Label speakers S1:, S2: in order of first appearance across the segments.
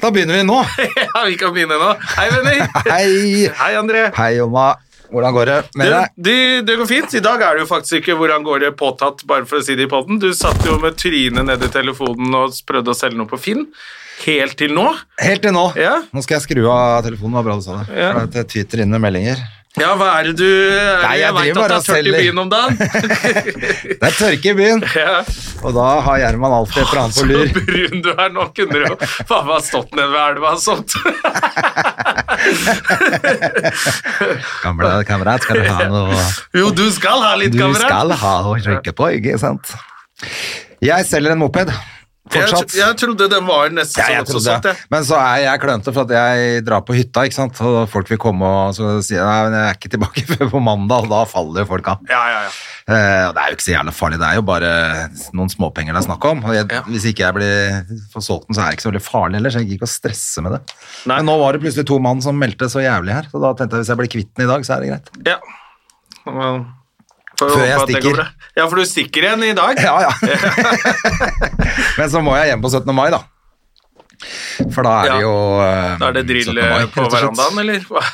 S1: Da begynner vi nå.
S2: Ja, vi kan begynne nå. Hei, venner.
S1: Hei.
S2: Hei, André.
S1: Hei, Jonna. Hvordan går det med deg?
S2: Du, du, det går fint. I dag er det jo faktisk ikke 'Hvordan går det?' påtatt, bare for å si det i poden. Du satt jo med trynet nedi telefonen og prøvde å selge noe på Finn. Helt til nå.
S1: Helt til nå.
S2: Ja.
S1: Nå skal jeg skru av telefonen. Det var bra du sa det.
S2: Ja.
S1: For at det tyter inn med meldinger.
S2: Ja, hva er det du eh,
S1: Nei, jeg
S2: vet
S1: driver bare
S2: at det er tørt
S1: og
S2: i
S1: selger.
S2: byen om dagen.
S1: Det er tørke i byen,
S2: ja.
S1: og da har Gjerman alltid et eller annet på
S2: Så
S1: lur.
S2: brun du er nå, kunne du jo faen meg stått nede ved elva og sånt.
S1: Gamle kamerat, skal du ha noe
S2: Jo, du skal ha litt,
S1: Du
S2: kamerat.
S1: skal ha å trykke på, ikke sant? Jeg selger en moped.
S2: Jeg,
S1: Fortsatt.
S2: tro- jeg trodde den var nesten
S1: Ja,
S2: så
S1: jeg
S2: godt som
S1: trodde
S2: satt,
S1: det.
S2: jeg.
S1: Men så er jeg klønete for at jeg drar på hytta, ikke sant? og folk vil komme og så sier nei, men jeg er ikke tilbake før på mandag, og da faller jo folk av.
S2: Ja, ja, ja.
S1: Eh, og det er jo ikke så jævlig farlig, det er jo bare noen småpenger det er snakk om. Og jeg,
S2: Ja.
S1: Hvis ikke jeg blir får solgt den, så er det ikke så veldig farlig ellers. Jeg gidder ikke å stresse med det.
S2: Nei.
S1: Men nå var det plutselig to mann som meldte så jævlig her, så da tenkte jeg hvis jeg blir kvitt den i dag, så er det greit.
S2: ja. Men, får
S1: Før
S2: håpe
S1: jeg
S2: at det går
S1: stikker.
S2: bra. Ja, for du stikker igjen i dag.
S1: Ja, ja. Men så må jeg hjem på 17. mai, da. For da er
S2: Ja.
S1: det jo eh,
S2: Da er det drill
S1: 17. mai,
S2: eh,
S1: rett
S2: på
S1: og slett.
S2: verandaen, eller? hva?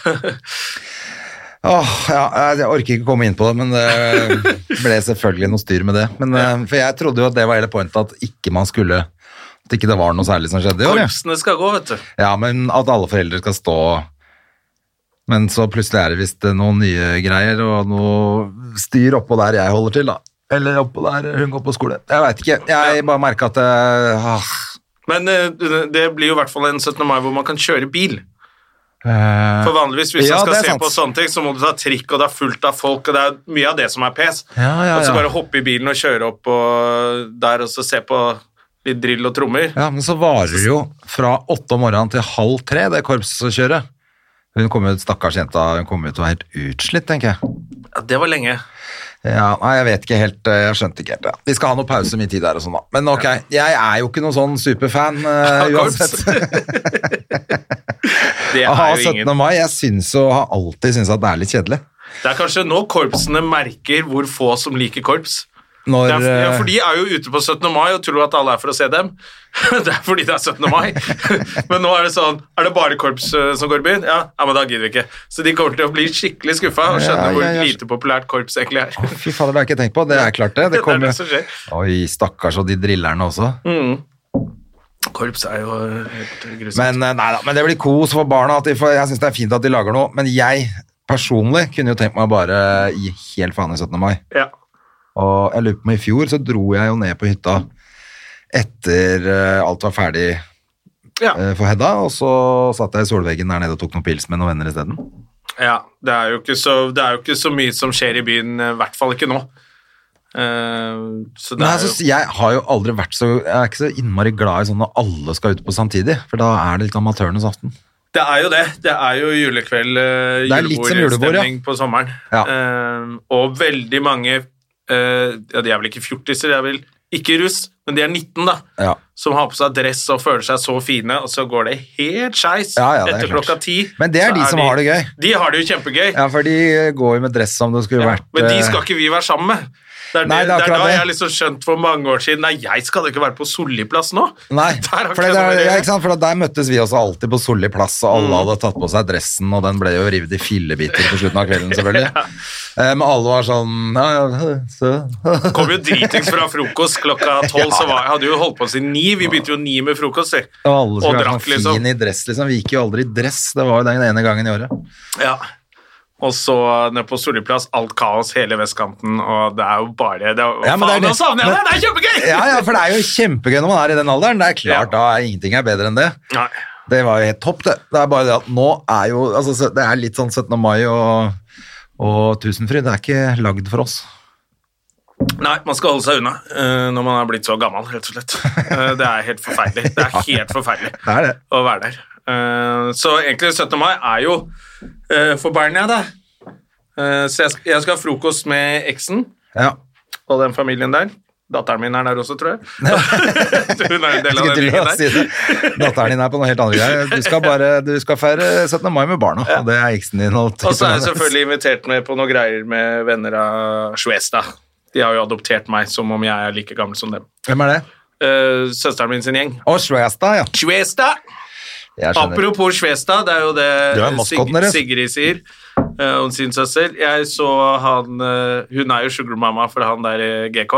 S1: Åh, ja, eh, jeg- jeg orker ikke komme inn på det, men det ble selvfølgelig noe styr med det. Men, eh, For jeg trodde jo at det var hele pointet, at ikke man skulle At ikke det var noe særlig som skjedde i år. ja.
S2: Korpsene skal gå, vet du.
S1: Ja, men at alle foreldre skal stå Men så plutselig er det visst noen nye greier og noe styr oppå der jeg holder til, da. Eller oppå der hun går på skole. Jeg veit ikke. Jeg bare merka at eh, ah,
S2: Men eh, det blir jo i hvert fall en 17. mai hvor man kan kjøre bil.
S1: eh,
S2: For vanligvis hvis
S1: Ja,
S2: man
S1: det
S2: skal
S1: er
S2: se
S1: sant.
S2: på sånne ting, så må du ta trikk, og det er fullt av folk, og det er mye av det som er pes.
S1: Ja, ja,
S2: Og så
S1: ja.
S2: bare hoppe i bilen og kjøre opp og der og så se på litt drill og trommer.
S1: Ja, men så varer det jo fra åtte om morgenen til halv tre, det korpskjøret. Hun kom ut, stakkars jenta, hun kom ut og var helt utslitt, tenker jeg.
S2: Ja, det var lenge.
S1: Ja, nei, jeg vet ikke helt, eh, jeg skjønte ikke helt. Ja. De skal ha noe pause min tid der og sånn da. Men ok, jeg er jo ikke noen sånn superfan eh, uansett.
S2: Det
S1: Å ha
S2: er jo
S1: 17.
S2: ingen.
S1: mai, jeg syns jo, har alltid syntes at det er litt kjedelig.
S2: Det er kanskje nå korpsene merker hvor få som liker korps.
S1: Når,
S2: Det er, ja,
S1: eh,
S2: for de er jo ute på 17. mai og tror at alle er for å se dem. Det er fordi det er 17. mai. Men nå er det sånn Er det bare korps eh, som går i byen? Ja, ja men da gidder vi ikke. Så de kommer til å bli skikkelig skuffa og skjønne
S1: Ja,
S2: hvor
S1: ja, ja.
S2: lite populært korps egentlig er.
S1: Fy fader, det har jeg ikke tenkt på. Det er klart det.
S2: Det
S1: Det
S2: er
S1: kommer
S2: det som skjer. Mm.
S1: Oi, stakkars og de drillerne også.
S2: Korps er jo helt grusomt.
S1: Men, eh, nei da, men det blir kos for barna. At de får, jeg syns det er fint at de lager noe. Men jeg personlig kunne jo tenkt meg å bare gi helt faen i 17. mai.
S2: ja.
S1: Og jeg lurer på om i fjor så dro jeg jo ned på hytta etter eh, alt var ferdig
S2: Ja.
S1: eh, for Hedda, og så satt jeg i solveggen der nede og tok noen pils med noen venner isteden.
S2: ja. Det er, jo ikke så, det er jo ikke så mye som skjer i byen, eh, i hvert fall ikke nå. Eh, så det
S1: Nei,
S2: er
S1: jeg,
S2: jo
S1: synes, jeg har jo aldri vært så Jeg er ikke så innmari glad i sånn når alle skal ut på samtidig, for da er det litt amatørenes aften.
S2: Det er jo det. Det er jo julekveld, eh,
S1: Det er litt som julebord, ja.
S2: julebordstemning på sommeren.
S1: Ja.
S2: Eh, og veldig mange eh, ja, De er vel ikke fjortiser, de er vel ikke russ, men de er 19, da.
S1: Ja.
S2: Som har på seg dress og føler seg så fine, og så går det helt skeis
S1: Ja, ja, det er
S2: etter
S1: klart.
S2: klokka ti.
S1: Men det er
S2: så
S1: de som har det gøy.
S2: De har det jo kjempegøy,
S1: Ja, for de går jo med dress som det skulle
S2: Ja,
S1: vært
S2: men de skal
S1: eh,
S2: ikke vi være sammen med. Det er,
S1: Nei,
S2: det,
S1: det er
S2: det er
S1: akkurat
S2: da
S1: det.
S2: jeg har liksom skjønt for mange år siden Nei, jeg skal da ikke være på Solliplass nå!
S1: Nei,
S2: Der har
S1: for,
S2: ikke
S1: det,
S2: jeg noe
S1: der, ja,
S2: med det å gjøre. Mm.
S1: ikke sant? for der møttes vi også alltid på Solli plass, og alle hadde tatt på seg dressen, og den ble jo revet i fillebiter på slutten av kvelden, selvfølgelig. Eh, Men alle var sånn ja, ja, så.
S2: Kom jo dritings fra frokost klokka tolv, så var, jeg hadde jo holdt på siden ni. Vi begynte jo ni med frokost, vi.
S1: Og alle
S2: Og
S1: skulle være
S2: drakk,
S1: sånn fin
S2: liksom.
S1: i dress, liksom. Vi gikk jo aldri i dress, det var jo den ene gangen i året.
S2: Ja. Og så nede på Solli plass, alt kaos, hele vestkanten, og det er jo bare det er,
S1: Ja, men det er
S2: Faen, nå
S1: det-
S2: savner jeg
S1: men-
S2: deg! Det er kjempegøy!
S1: Ja, ja, for det er jo kjempegøy når man er i den alderen. Det er klart, da er ingenting er bedre enn det.
S2: Nei.
S1: Det var jo helt topp, det. Det er bare det at nå er jo altså, så- Det er litt sånn 17. mai og, og Tusenfryd. Det er ikke lagd for oss.
S2: Nei, man skal holde seg unna eh, når man er blitt så gammel, rett og slett. Eh, det er helt forferdelig. Det er helt forferdelig
S1: Det er det.
S2: å være der. Eh, så egentlig 17. mai er jo eh, for Bernia, da. Eh, så jeg skal, jeg skal ha frokost med eksen
S1: Ja.
S2: og den familien der. Datteren min er der også, tror jeg. Hun er en del av
S1: Skulle
S2: den
S1: tro
S2: gjengen
S1: at
S2: der.
S1: siden Datteren din er på noe helt andre greier. Du skal, bare, du skal feire 17. mai med barna, og det er eksen din. Og
S2: Og så er jeg selvfølgelig invitert med på noen greier med venner av Shuesta. De har jo adoptert meg som om jeg er like gammel som dem.
S1: Hvem er det?
S2: Eh, søsteren min sin gjeng.
S1: Å, Shwesta, ja.
S2: Shuesta!
S1: Jeg skjønner.
S2: Apropos Svesta, det er jo
S1: Du er
S2: det
S1: maskotten deres.
S2: Sigrid sier eh, om sin søster. Jeg så han eh, Hun er jo sugarmamma for han der eh, GK.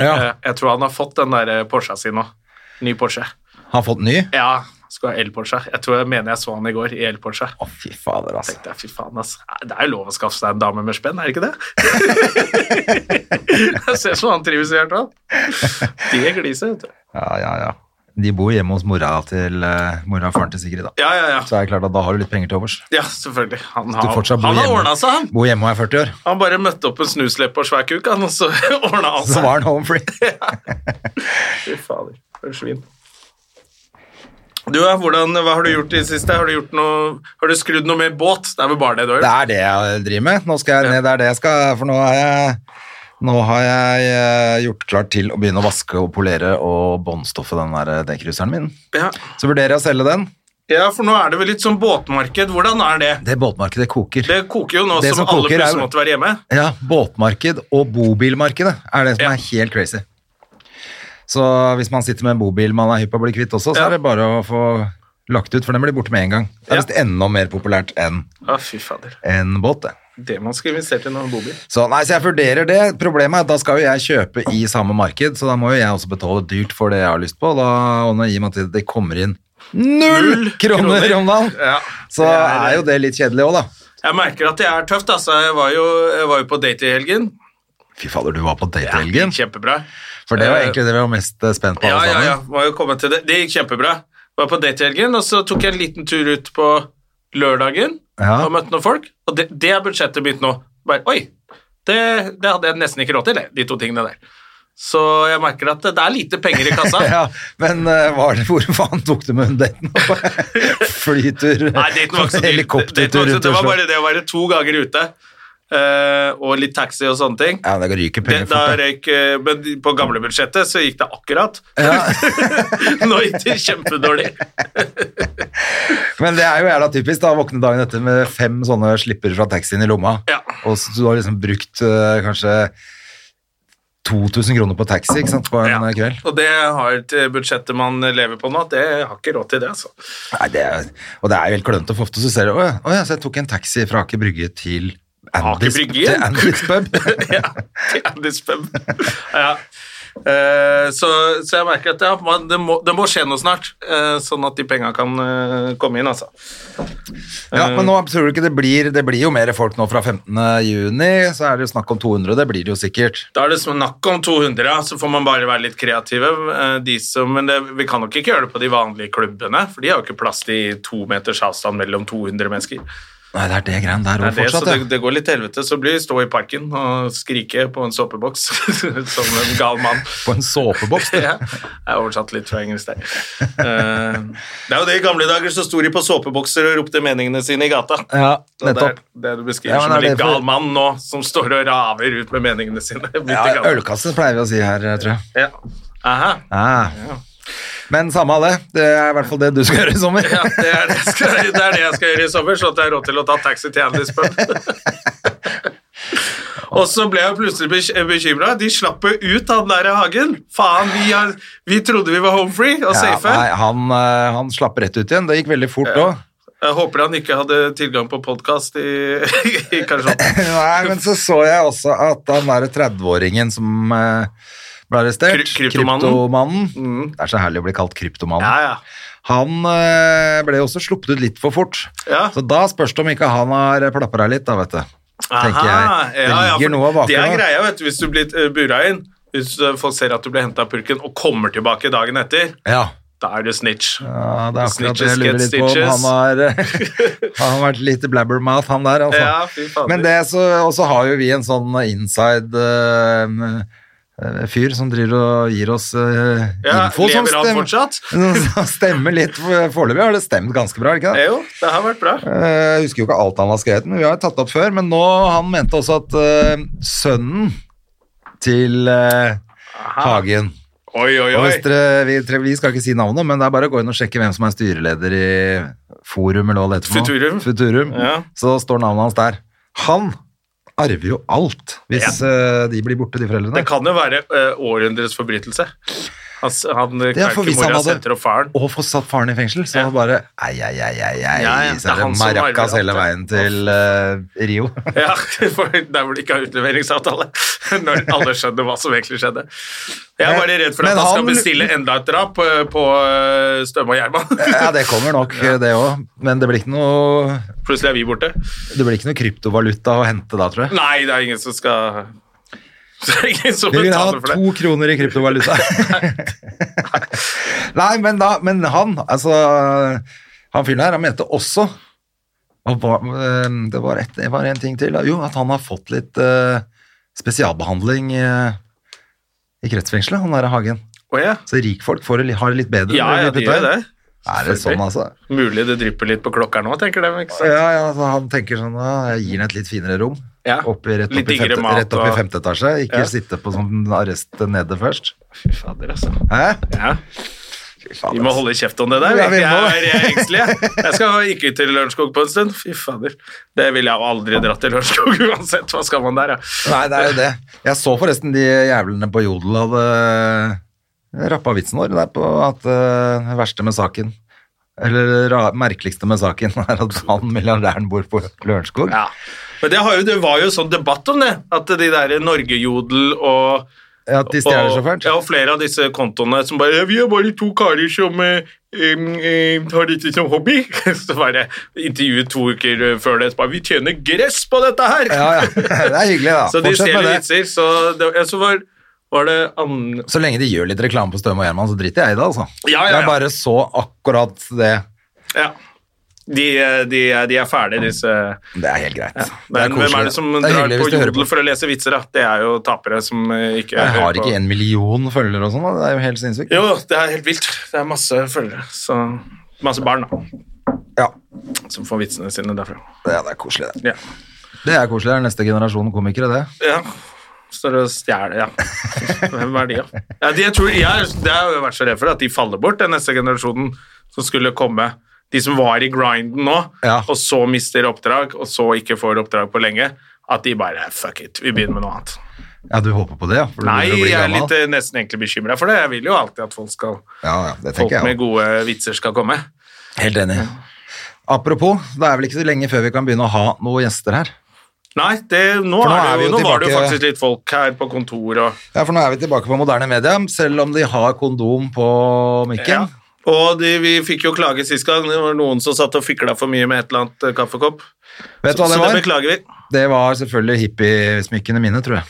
S1: Ja,
S2: Eh, Jeg tror han har fått den der eh, Porscha si nå. Ny Porsche.
S1: har fått ny?
S2: Ja, skal ha el-Porsche. Jeg tror jeg mener jeg så han i går i el-Porsche.
S1: Å, fy fader, altså.
S2: Tenkte jeg, fy faen, ass. Det er jo lov å skaffe seg en dame med spenn, er det ikke det? jeg ser som han trives i hvert fall. Det gliser, vet du.
S1: Ja, ja, ja. De bor hjemme hos mora til eh, mora og faren til Sigrid, da.
S2: Ja, ja, ja.
S1: Så er det klart at da har du litt penger til overs.
S2: Ja, selvfølgelig. Han
S1: Du
S2: har,
S1: fortsatt bor
S2: han har
S1: hjemme.
S2: ordna seg, han.
S1: Bor hjemme og er 40 år.
S2: Han bare møtte opp en snusleppe og svær kuk, han, og så ordna han
S1: Så
S2: seg.
S1: var han home free.
S2: Fy fader, for et svin. Du, ja, hvordan, hva har du gjort i det siste? Har du, gjort noe, har du skrudd noe mer båt? Det er vel bare det du har
S1: Det
S2: gjort?
S1: er det jeg driver med. Nå skal jeg ned, det er det jeg skal, for nå har jeg, nå har jeg eh, gjort klart til å begynne å vaske og polere og båndstoffe den der dekkrusseren min.
S2: Ja.
S1: Så vurderer jeg å selge den.
S2: ja, for nå er det vel litt sånn båtmarked. Hvordan er det?
S1: Det båtmarkedet koker.
S2: Det koker jo nå
S1: Det
S2: som,
S1: som
S2: alle
S1: koker er-
S2: plutselig måtte være hjemme.
S1: Ja, båtmarked og bobilmarkedet er det som
S2: Ja.
S1: er helt crazy. Så hvis man sitter med en bobil man er hypp på å bli kvitt også, så
S2: Ja.
S1: er det bare å få lagt ut, for den blir borte med en gang. Det er
S2: Ja.
S1: visst enda mer populært enn
S2: Å, fy fader.
S1: en båt, det.
S2: Det man skulle investert i når man bobil.
S1: Så, nei, så jeg vurderer det. Problemet er at da skal jo jeg kjøpe i samme marked, så da må jo jeg også betale dyrt for det jeg har lyst på. Da, og nå, I og med at det kommer inn null
S2: Null
S1: kroner
S2: kroner.
S1: om dagen,
S2: Ja.
S1: så
S2: Det er-
S1: er jo det litt kjedelig òg, da.
S2: Jeg merker at det er tøft, altså. Jeg var jo, jeg var jo på date i helgen.
S1: Fy fader, du var på date i helgen.
S2: Kjempebra.
S1: For det var
S2: Eh,
S1: egentlig det vi var mest eh, spent på.
S2: Ja,
S1: alle
S2: ja,
S1: sammen.
S2: ja. Må jo komme til det. Det gikk kjempebra. Var på date i helgen, og så tok jeg en liten tur ut på lørdagen
S1: Ja.
S2: og møtte noen folk. Og det, det er budsjettet mitt nå. Bare, oi, det, det hadde jeg nesten ikke råd til, det, de to tingene der. Så jeg merker at det, det er lite penger i kassa.
S1: Ja, men eh, var det, hvor faen tok du med den daten? Flytur,
S2: Nei, daten var ikke så dyr. Daten
S1: helikoptertur
S2: var ikke så-
S1: rundt
S2: Det var
S1: Oslo.
S2: bare det å være to ganger ute, eh, og litt taxi og sånne ting.
S1: Ja, men det ryker
S2: Det,
S1: penger
S2: da
S1: fort. da.
S2: røyk, eh, men på gamle budsjettet så gikk det akkurat. Nå gikk det kjempedårlig.
S1: Men det er jo jævla typisk da, å våkne dagen etter med fem sånne slipper fra taxien i lomma.
S2: Ja.
S1: Og så du har liksom brukt eh, kanskje 2000 kroner på taxi, ikke sant, på en
S2: Ja,
S1: eh, kveld.
S2: Og det har et budsjettet man lever på nå, det har ikke råd til det, altså.
S1: Nei, det er, og det er jo helt klønete, for ofte så ser du, åja, åja, så jeg tok en taxi fra Aker Brygge til Andis,
S2: Aker Brygge?
S1: til Andis pub.
S2: ja, det er litt spennende. ja. Eh, så, så jeg merker at ja, man, det, må, det må skje noe snart, eh, sånn at de penga kan eh, komme inn, altså.
S1: Ja, men nå tror du ikke det blir, det blir jo mer folk nå fra 15. juni, så er det jo snakk om 200, det blir det jo sikkert.
S2: Da er det snakk om 200, ja, så får man bare være litt kreative. Eh, De som, men det, vi kan nok ikke gjøre det på de vanlige klubbene, for de har jo ikke plass til to meters avstand mellom 200 mennesker.
S1: Nei, det er det greiene der òg
S2: Det, er det, så
S1: fortsatt,
S2: det,
S1: ja.
S2: det går litt til helvete, så blir det stå i parken og skrike på en såpeboks som en gal mann.
S1: På en såpeboks, du.
S2: Ja, jeg oversatte litt fra engelsk der. Eh, det er jo det i gamle dager, så sto de på såpebokser og ropte meningene sine i gata.
S1: Ja,
S2: Og det,
S1: nettopp.
S2: er, det du beskriver
S1: Ja, men
S2: som en
S1: er
S2: litt
S1: det for-
S2: gal mann nå, som står og raver ut med meningene sine. midt i
S1: Ja,
S2: gata.
S1: Ølkasse pleier vi å si her, tror jeg.
S2: Ja. Aha.
S1: Ja. Ah. Men samme av det. Det er i hvert fall det du skal gjøre i sommer.
S2: Ja, det er det, jeg skal, det er det jeg skal gjøre i sommer, så at jeg har råd til å ta taxi til Andys pub. Og så ble jeg plutselig bekymra. De slapp jo ut han der i hagen. Faen, vi, har, vi trodde vi var home free og
S1: Ja,
S2: safe.
S1: nei, han, eh, han slapp rett ut igjen. Det gikk veldig fort òg.
S2: Jeg håper han ikke hadde tilgang på podkast i, i sånn- Karlsson.
S1: Nei, men så så jeg også at han derre 30-åringen som eh, ble arrestert,
S2: Kry- kryptomannen. Mm.
S1: Det er så herlig å bli kalt kryptomannen.
S2: Ja, ja.
S1: Han eh, ble også sluppet ut litt for fort.
S2: Ja.
S1: Så da spørs det om ikke han har plapra litt, da, vet du. Tenker
S2: Aha,
S1: jeg. Det
S2: ja, ja,
S1: ligger
S2: for
S1: noe bak
S2: Det er
S1: der.
S2: greia, vet du, hvis du blir eh, bura inn. Hvis eh, folk ser at du ble henta av purken og kommer tilbake dagen etter,
S1: Ja.
S2: Da er du snitch.
S1: Ja, det er akkurat det jeg
S2: Snitches
S1: lurer
S2: get
S1: litt på om
S2: stitches.
S1: han har, eh, han har vært litt blabbermouth, han der. Altså.
S2: Ja, fy fader.
S1: Men det så, og så har jo vi en sånn inside eh, eh, fyr som driver og gir oss eh,
S2: Ja,
S1: info som,
S2: lever han
S1: stem,
S2: fortsatt?
S1: som stemmer litt. Foreløpig har det stemt ganske bra, har det ikke det?
S2: Eh, Jo, det har vært bra.
S1: Eh, Jeg husker jo ikke alt han har skrevet, men vi har jo tatt det opp før. Men nå, han mente også at eh, sønnen til eh, Hagen
S2: Oi, oi,
S1: og
S2: oi.
S1: hvis dere, vi, tre- vi skal ikke si navnet, men det er bare å gå inn og sjekke hvem som er styreleder i Forum eller hva det heter. for noe.
S2: Futurum.
S1: Futurum.
S2: Ja.
S1: Så står navnet hans der. Han arver jo alt hvis eh, de blir borte, de foreldrene.
S2: Det kan jo være eh, århundrets forbrytelse. Han, s- han eh,
S1: Ja, for
S2: kverker
S1: hvis han
S2: mora,
S1: hadde-
S2: setter opp faren.
S1: Og få satt faren i fengsel, så
S2: Ja.
S1: han bare ei, ei, ei, ei, ei,
S2: Ja, ja, det
S1: så
S2: er
S1: er det
S2: han som arver
S1: Maracas hele veien
S2: alt, ja.
S1: til eh, Rio.
S2: Ja, for der hvor de ikke har utleveringsavtale. Når alle skjønner hva som egentlig skjedde. Jeg er bare redd for at
S1: Men
S2: han, skal
S1: han-
S2: bestille enda et drap eh, på eh, Støme og Gjerman.
S1: Ja, det kommer nok, det òg. Men det blir ikke noe
S2: Plutselig er vi borte.
S1: Det blir ikke noe kryptovaluta å hente da, tror jeg.
S2: Nei, det er ingen som skal Det er ingen som
S1: Vi vil ha
S2: betaler for det.
S1: to kroner i kryptovaluta. Nei, men, da, men han, altså Han fyren her, han mente også og hva- eh, Det var, et, det var en ting til. da. Jo, at han har fått litt eh, spesialbehandling eh, i kretsfengselet, han derre Hagen.
S2: Å ja.
S1: Så rikfolk får det, li- har det litt bedre.
S2: ja, ja, de
S1: utbytte.
S2: gjør det.
S1: Er det sånn, altså?
S2: Mulig det drypper litt på klokka nå, tenker de. ikke sant?
S1: Ja, ja, så han tenker sånn «Ah, Jeg gir henne et litt finere rom.
S2: Ja.
S1: Oppi, rett,
S2: Litt
S1: opp i
S2: diggere
S1: femte,
S2: mat
S1: rett opp i
S2: og-
S1: femte etasje. Ikke
S2: Ja.
S1: sitte på sånn arrest nede først.
S2: Fy fader, altså.
S1: Hæ?
S2: Ja. Vi
S1: Faen,
S2: må
S1: ass.
S2: holde kjeft om det der.
S1: Ja, vi
S2: Jeg
S1: må
S2: er,
S1: det.
S2: jeg er engstelig. Jeg Jeg skal ha- ikke til Lørenskog på en stund. Fy fader. Det ville jeg jo aldri dratt til Lørenskog uansett. Hva skal man der, ja?
S1: Nei, det er jo det. Jeg så forresten de jævlene på Jodel hadde rappa vitsen vår der på at eh, det verste med saken eller det ra merkeligste med saken er at han milliardæren bor på Lørenskog.
S2: ja. Men det, har jo, det var jo sånn debatt om det. At de der Norgejodel og
S1: At de stjeler
S2: og-
S1: sjåføren.
S2: Ja, og flere av disse kontoene som bare Vi er bare to karer som eh, em, em, har dette som hobby. Så bare intervjuet to uker eh, før det. så Bare, vi tjener gress på dette her!
S1: Ja, ja. Det er hyggelig, da.
S2: Så de
S1: Fortsett med
S2: stjeler
S1: det.
S2: vitser. Så, det, ja, så var, var det an,
S1: Så lenge de gjør litt reklame på Støme og Gjerman, så driter jeg i det, altså.
S2: Ja, ja, ja.
S1: Jeg bare så akkurat det.
S2: Ja. De, eh, de, er- de er ferdige, disse.
S1: Det er helt greit. det
S2: Men hvem er det som
S1: Det er
S2: drar
S1: hyggelig
S2: på
S1: hvis du hører
S2: jodel for å lese vitser? Da? Det er jo tapere som eh, ikke
S1: Jeg har
S2: hører på.
S1: ikke en million følgere og sånn, da. det er jo helt sinnssykt.
S2: Jo, det er helt vilt. Det er masse følgere. Så masse barn da,
S1: Ja,
S2: som får vitsene sine derfra.
S1: det, det er koselig, det.
S2: Ja.
S1: Det er koselig, det er neste generasjon komikere, det.
S2: ja. Står og stjeler, ja. Hvem er de, da? Ja, de, jeg tror, jeg, er- det har jeg vært så redd for, at de faller bort, den neste generasjonen som skulle komme. De som var i grinden nå,
S1: Ja.
S2: og så mister oppdrag, og så ikke får oppdrag på lenge. At de bare fuck it, vi begynner med noe annet.
S1: Ja, du håper på det, ja? For du
S2: Nei,
S1: begynner å bli
S2: jeg er
S1: gammel.
S2: litt, eh, nesten egentlig bekymra for det. Jeg vil jo alltid at folk, skal,
S1: Ja, ja, det
S2: folk
S1: tenker
S2: med
S1: jeg òg.
S2: gode vitser skal komme.
S1: Helt enig. Apropos, det er vel ikke så lenge før vi kan begynne å ha noen gjester her.
S2: Nei, det, nå,
S1: For nå
S2: er
S1: er
S2: det,
S1: vi
S2: jo-
S1: jo
S2: nå var det jo
S1: tilbake-
S2: faktisk litt folk her på kontor og
S1: Ja, For nå er vi tilbake på moderne media, selv om de har kondom på
S2: ja.
S1: mikken.
S2: Og de, vi fikk jo klage sist gang. Det var noen som satt og fikla for mye med et eller annet eh, kaffekopp.
S1: Vet du hva
S2: så
S1: det
S2: det
S1: var?
S2: beklager vi.
S1: Det var selvfølgelig hippiesmykkene mine, tror jeg.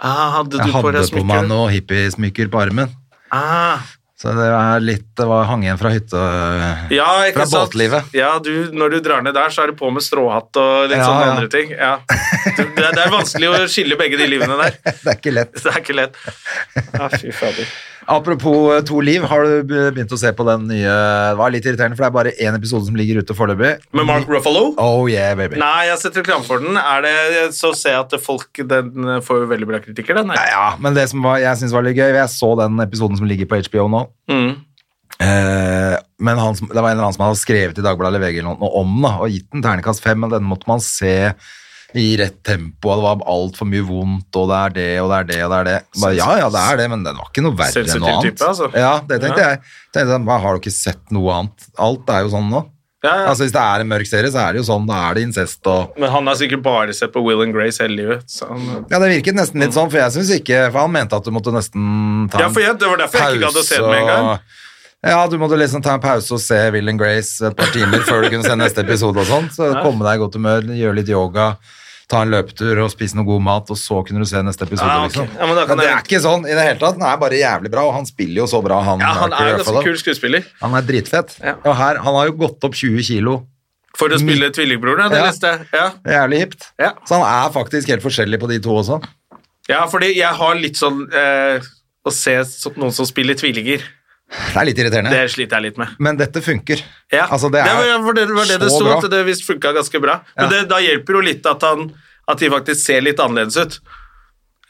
S2: Ah, hadde du
S1: Jeg
S2: på
S1: hadde
S2: deg
S1: på meg
S2: smykker?
S1: noen hippiesmykker på armen.
S2: Ah,
S1: Så det er litt Det var hang igjen fra hytte...
S2: ja, ikke
S1: Fra
S2: sant?
S1: båtlivet.
S2: Ja, du, når du drar ned der, så er det på med stråhatt og litt
S1: Ja,
S2: sånne
S1: ja.
S2: andre ting. Ja. Det, det er vanskelig å skille begge de livene der.
S1: Det er ikke lett.
S2: Det er ikke lett. Ja, fy fader.
S1: Apropos eh, To liv, har du be- begynt å se på den nye Det var litt irriterende, for det er bare én episode som ligger ute foreløpig.
S2: Med Mark Ruffalo?
S1: Oh yeah, baby. Nei.
S2: Nei, jeg har sett reklame for den. Er det, så ser jeg at folk Den får jo veldig bra kritikker, den. her.
S1: Ja, men det som var, jeg syns var litt gøy Jeg så den episoden som ligger på HBO nå.
S2: Mm.
S1: Eh, men han, som- det var en eller annen som hadde skrevet i Dagbladet eller VG eller noe om den, da, og gitt den terningkast fem, men den måtte man se i rett tempo, og det var altfor mye vondt, og det er det, og det er det, og det er det. Bare, ja, ja, det er det, men den var ikke noe verre enn
S2: Sensitiv
S1: noe annet.
S2: type, altså.
S1: Ja, det tenkte
S2: Ja.
S1: jeg. Tenkte, jeg, hva, har du ikke sett noe annet? Alt er jo sånn nå.
S2: Ja, ja.
S1: Altså, hvis det er en mørk serie, så er det jo sånn, da er det incest og
S2: Men han har sikkert bare sett på Will and Grace hele livet. Så han,
S1: Ja, det virket nesten litt sånn, for jeg synes ikke For han mente at du måtte nesten ta
S2: ja, for jeg, Det var derfor jeg ikke gadd å se den med en gang.
S1: og- Ja, du måtte liksom ta en pause og se Will and Grace et par timer før du kunne se neste episode og sånn. Så komme deg i godt humør, gjøre litt yoga, ta en løpetur og spise noe god mat, og så kunne du se neste episode.
S2: Ah, ok.
S1: liksom.
S2: Ja, men da kan
S1: det
S2: jeg-
S1: er ikke sånn i det hele tatt. Den er bare jævlig bra, og han spiller jo så bra, han.
S2: Ja, han
S1: Mercury,
S2: er
S1: i
S2: jo
S1: hvert fall,
S2: ganske
S1: da.
S2: kul skuespiller.
S1: Han er dritfett.
S2: Ja.
S1: Og her, han har jo gått opp 20 kilo.
S2: For å spille tvillingbroren, det
S1: Ja.
S2: leste jeg. Ja.
S1: Det er Jævlig hipt.
S2: Ja.
S1: Så han er faktisk helt forskjellig på de to også.
S2: ja, fordi jeg har litt sånn eh, Å se så- noen som spiller tvillinger,
S1: Det er litt irriterende.
S2: det sliter jeg litt med.
S1: Men dette funker.
S2: Ja,
S1: Altså, det er
S2: var- for det var det det
S1: så
S2: sto,
S1: bra.
S2: at det visst funka ganske bra. Men
S1: Ja.
S2: det, da hjelper jo litt at, han, at de faktisk ser litt annerledes ut.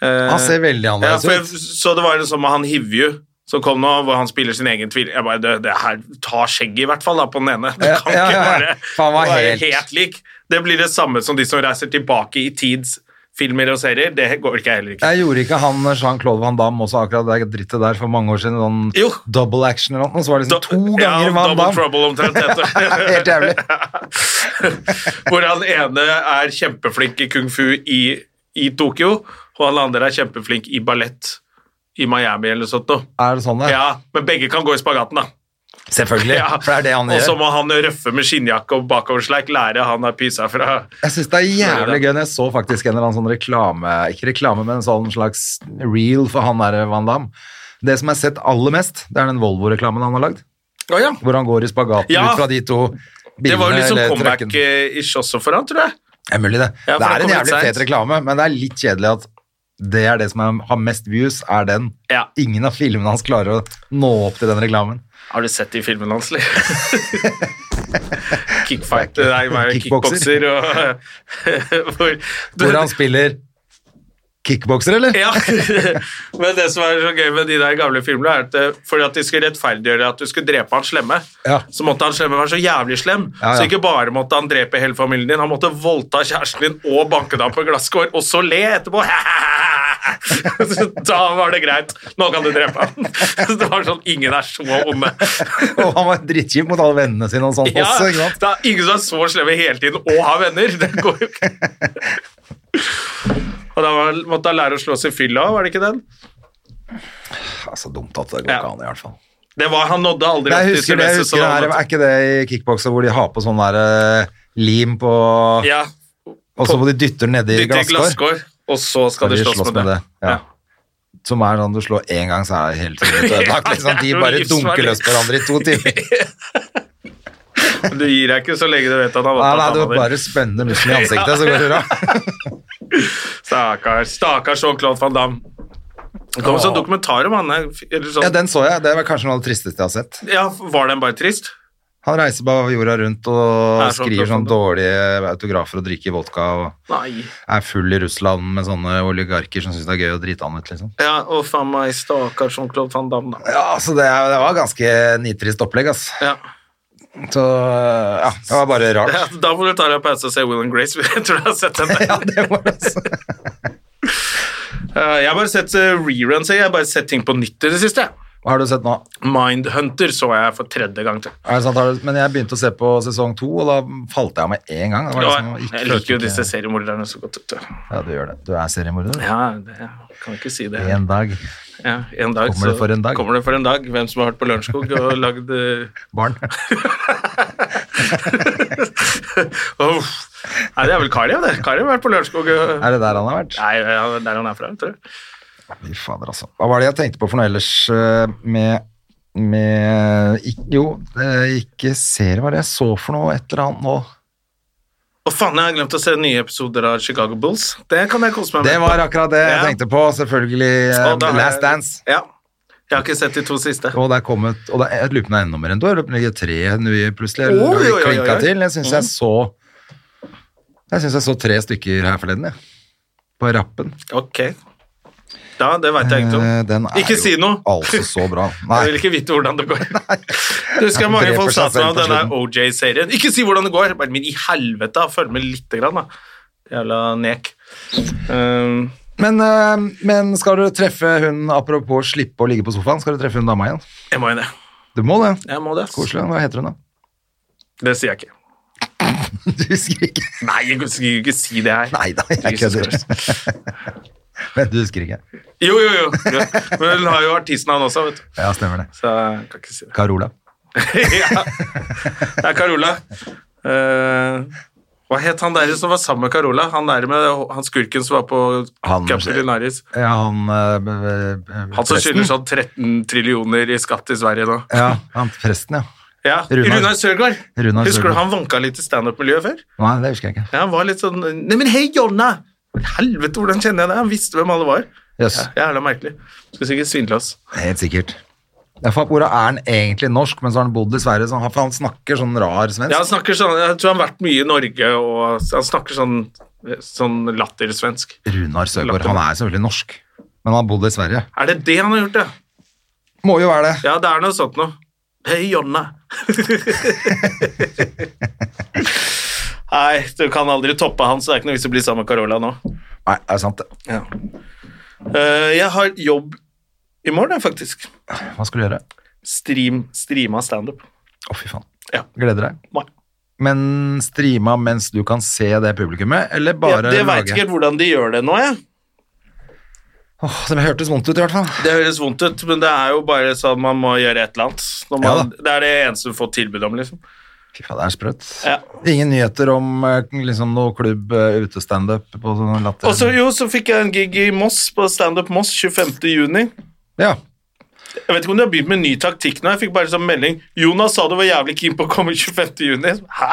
S2: Eh,
S1: Han ser veldig
S2: ja,
S1: annerledes
S2: for jeg,
S1: ut.
S2: så det var jo sånn med han Hivju som kom nå, hvor han spiller sin egen tvil. Jeg bare, det, det her, Ta skjegget i hvert fall da, på den ene. Du
S1: Ja,
S2: kan
S1: ja,
S2: ikke
S1: ja.
S2: bare
S1: For han var
S2: være
S1: helt-
S2: helt... lik. Det blir det samme som de som reiser tilbake i tids filmer og serier. Det går ikke heller ikke.
S1: Jeg gjorde ikke han Jean-Claude Van Damme også akkurat det drittet der for mange år siden? Sånn
S2: Jo.
S1: double action eller noe? Så var det liksom to
S2: Ja,
S1: ganger Van
S2: Double
S1: Damme.
S2: Trouble omtrent. heter
S1: Helt
S2: det.
S1: jævlig.
S2: Hvor han ene er kjempeflink i kung fu i, i Tokyo, og han andre er kjempeflink i ballett i Miami eller sånt noe.
S1: Er det sånn det?
S2: Ja, men begge kan gå i spagaten, da.
S1: Selvfølgelig.
S2: Ja.
S1: For det er det han
S2: Og så
S1: gjør.
S2: må han røffe med skinnjakke og bakoversleik lære han har pysa fra
S1: Jeg syns det er jævlig gøy når jeg så faktisk en eller annen sånn reklame Ikke reklame, men en sånn slags reel for han der Van Damme. Det som jeg har sett aller mest, det er den Volvo-reklamen han har lagd.
S2: Å ja.
S1: Hvor han går i spagaten
S2: Ja.
S1: ut fra de to bilene.
S2: Det var jo liksom
S1: eller trucken.
S2: comeback-ish også for han, tror jeg.
S1: Det er mulig, det.
S2: Ja, for
S1: det
S2: han
S1: er en
S2: kom litt
S1: jævlig
S2: sent.
S1: fet reklame, men det er litt kjedelig at det er det som er, har mest views, er den.
S2: Ja.
S1: Ingen av filmene hans klarer å nå opp til den reklamen.
S2: Har du sett de filmene hans, eller? Kickfight, nei, hva er det?
S1: Kickbokser.
S2: kickbokser og hvor, du-
S1: Hvor han spiller kickbokser, eller?
S2: Ja, men det som er så gøy med de der gamle filmene, er at eh, fordi at de skulle rettferdiggjøre at du skulle drepe han slemme,
S1: Ja.
S2: så måtte han slemme være så jævlig slem.
S1: Ja, ja.
S2: Så ikke bare måtte han drepe hele familien din, han måtte voldta kjæresten din og banke deg på glasskår, og så le etterpå. Så da var det greit. Nå kan du drepe han. Så Det var sånn, ingen er så onde.
S1: Og han var drittkjip mot alle vennene sine og sånn
S2: Ja,
S1: også, ikke sant?
S2: det er ingen som er så slemme hele tiden og har venner. Det går jo ikke. Og da var, måtte han lære å slå seg i fylla, var det ikke den?
S1: Ja, Ah, så dumt at det går
S2: Ja.
S1: ikke an, i hvert fall.
S2: Det var, Han nådde aldri
S1: Jeg
S2: opp til
S1: husker det, jeg
S2: semester,
S1: husker
S2: så
S1: det her,
S2: han måtte-
S1: er ikke det i kickbokser hvor de har på sånn der eh, lim på
S2: Ja,
S1: Og så hvor de dytter nedi
S2: dytt i
S1: glasskår.
S2: glasskår, og så skal de slåss med det.
S1: Ja. Som er sånn du slår én gang, så er hele tiden litt ødelagt. Liksom. De
S2: Ja, det er
S1: bare
S2: jo
S1: dunker
S2: livsfarlig.
S1: løs på hverandre i to timer.
S2: Men du gir deg ikke så lenge du vet at han har
S1: Nei, nei,
S2: voldtatt
S1: du
S2: han din.
S1: bare spenner musklene i ansiktet, så går det bra.
S2: Stakkars stakkars Jean-Claude van Damme. Det kom en sånn dokumentar om han. Eller sånn.
S1: Ja,
S2: Ja,
S1: den så jeg. Det var kanskje noe av det tristeste jeg har sett.
S2: Var den bare trist?
S1: Han reiser bare jorda rundt og
S2: Er så
S1: skriver
S2: opptatt av
S1: sånn
S2: det.
S1: dårlige autografer og drikker vodka og
S2: Nei.
S1: er full i Russland med sånne oligarker som syns det er gøy å drite han ut, liksom.
S2: Ja, å faen meg, stakkars Jean-Claude van Damme, da.
S1: Ja, så det, det var ganske nitrist opplegg, ass.
S2: Ja.
S1: Så ja, det var bare
S2: Ja,
S1: rart.
S2: da må du ta deg en pause og se Will and Grace. Jeg tror jeg har sett den.
S1: Ja, det var det, altså.
S2: Eh, Jeg har bare sett eh, reruns. Jeg har bare sett ting på nytt i det siste.
S1: Hva har du sett nå?
S2: Mindhunter så jeg for tredje gang til.
S1: Er det sant, har du- men jeg begynte å se på sesong to, og da falt jeg av med en gang. Det var liksom,
S2: Og
S1: ikke-
S2: jeg liker jo
S1: ikke-
S2: disse seriemorderne så godt. vet du.
S1: Ja, du gjør det. Du er seriemorder. du.
S2: Ja, det, jeg kan ikke si det.
S1: En dag.
S2: Ja, en dag,
S1: Kommer det
S2: så
S1: for en dag?
S2: Kommer det for en dag. Hvem som har vært på Lørenskog og lagd eh,
S1: Barn.
S2: uff. Nei, det er vel Kari, det. Kari har vært på Lørenskog og
S1: Er det der han har vært?
S2: Nei, ja, der han er fra, tror jeg.
S1: Fy fader, altså. Hva var det jeg tenkte på for noe ellers eh, med, med ikk- Jo, eh, ikke ser hva det er jeg så for noe, et eller annet nå.
S2: Å faen, jeg har glemt å se nye episoder av Chicago Bulls. Det kan jeg kose meg med.
S1: Det var akkurat det jeg
S2: Ja.
S1: tenkte på, selvfølgelig. eh,
S2: Og da har jeg-
S1: Last Dance.
S2: Ja. Jeg har ikke sett de to siste.
S1: Og det er kommet Og det er, jeg lurer på om det er enda mer enn du. Jeg lurer på om det ligger tre nye plutselig.
S2: Oi,
S1: Eller oh,
S2: oi, oi, oi. Mm.
S1: til. Jeg syns jeg så Jeg syns jeg så tre stykker her forleden, jeg. På rappen.
S2: Ok. Ja, det veit jeg ikke om.
S1: Eh, Den er
S2: Ikke si
S1: jo
S2: noe.
S1: altså så bra. Nei.
S2: Jeg vil ikke vite hvordan det går. Du husker
S1: Han
S2: mange
S1: dreper
S2: folk
S1: seg
S2: sa til meg
S1: selv
S2: om
S1: på
S2: denne OJ-serien. Ikke si hvordan det går! Bare, men i helvete, da. følg med lite grann, da. Jævla nek. Um,
S1: Men, eh, men skal du treffe hun Apropos slippe å ligge på sofaen, skal du treffe hun dama igjen?
S2: jeg må jo det.
S1: Du må det.
S2: Jeg må det. ass.
S1: Koselig. Hva heter hun, da?
S2: Det sier jeg ikke.
S1: Du husker ikke?
S2: Nei, jeg skulle ikke si det her.
S1: Nei da, jeg
S2: Jesus
S1: kødder. Men du husker ikke.
S2: Jo, jo, jo. jo. Men hun har jo artistnavn også, vet du.
S1: Ja, stemmer det.
S2: Så jeg kan ikke si det.
S1: Carola.
S2: ja. Det er Carola. Eh, Hva het han der som var sammen med Carola? Han der med han skurken som var på
S1: Han-
S2: Capulinaris.
S1: Ja, han eh,
S2: Han som
S1: presten.
S2: skylder sånn 13 trillioner i skatt i Sverige nå.
S1: Ja, han presten, ja.
S2: Ja,
S1: Runar-
S2: Runar, Sørgaard.
S1: Runar
S2: Husker
S1: Sørgaard.
S2: du han vanka litt i standup-miljøet før?
S1: Nei, det husker jeg ikke.
S2: Ja, han var litt sånn Nei, men hei, Jonna! Helvete, hvordan kjenner jeg deg? Han visste hvem alle var.
S1: Jøss,
S2: Ja, Jævla merkelig. Skulle sikkert svindle oss.
S1: helt sikkert. Ja, for Ora er han egentlig norsk, men så har han bodd i Sverige, så han, for han snakker sånn rar svensk.
S2: Ja, han snakker sånn Jeg tror han har vært mye i Norge, og han snakker sånn, sånn lattersvensk.
S1: Runar Søgaard, han er selvfølgelig norsk, men han har bodd i Sverige.
S2: Er det det han har gjort, ja?
S1: Må jo være det.
S2: Ja, det er noe sånt noe. Hei, Jonna. Nei, du kan aldri toppe han, så det er ikke noe vits i å bli sammen med Carola nå.
S1: Nei, det er sant. det.
S2: Eh, jeg har jobb i morgen, faktisk.
S1: Hva skal du gjøre?
S2: Stream, streama standup.
S1: Å, fy faen.
S2: Ja.
S1: Gleder deg.
S2: Nei.
S1: Men streama mens du kan se det publikummet, eller
S2: Ja,
S1: bare
S2: det veit ikke helt hvordan de gjør det nå, jeg.
S1: Åh, det hørtes vondt ut i hvert fall.
S2: Det høres vondt ut, men det er jo bare sånn man må gjøre et eller annet. Når man,
S1: Ja
S2: det er det eneste du får tilbud om, liksom.
S1: Fy faen, det er sprøtt.
S2: Ja.
S1: Ingen nyheter om eh, liksom noe klubb, eh, utestandup på sånn latter.
S2: Og så jo, så fikk jeg en gig i Moss, på Standup Moss 25. juni.
S1: Ja,
S2: Jeg vet ikke om de har begynt med en ny taktikk nå, jeg fikk bare sånn melding. Jonas sa du var jævlig keen på å komme 25. juni. Hæ?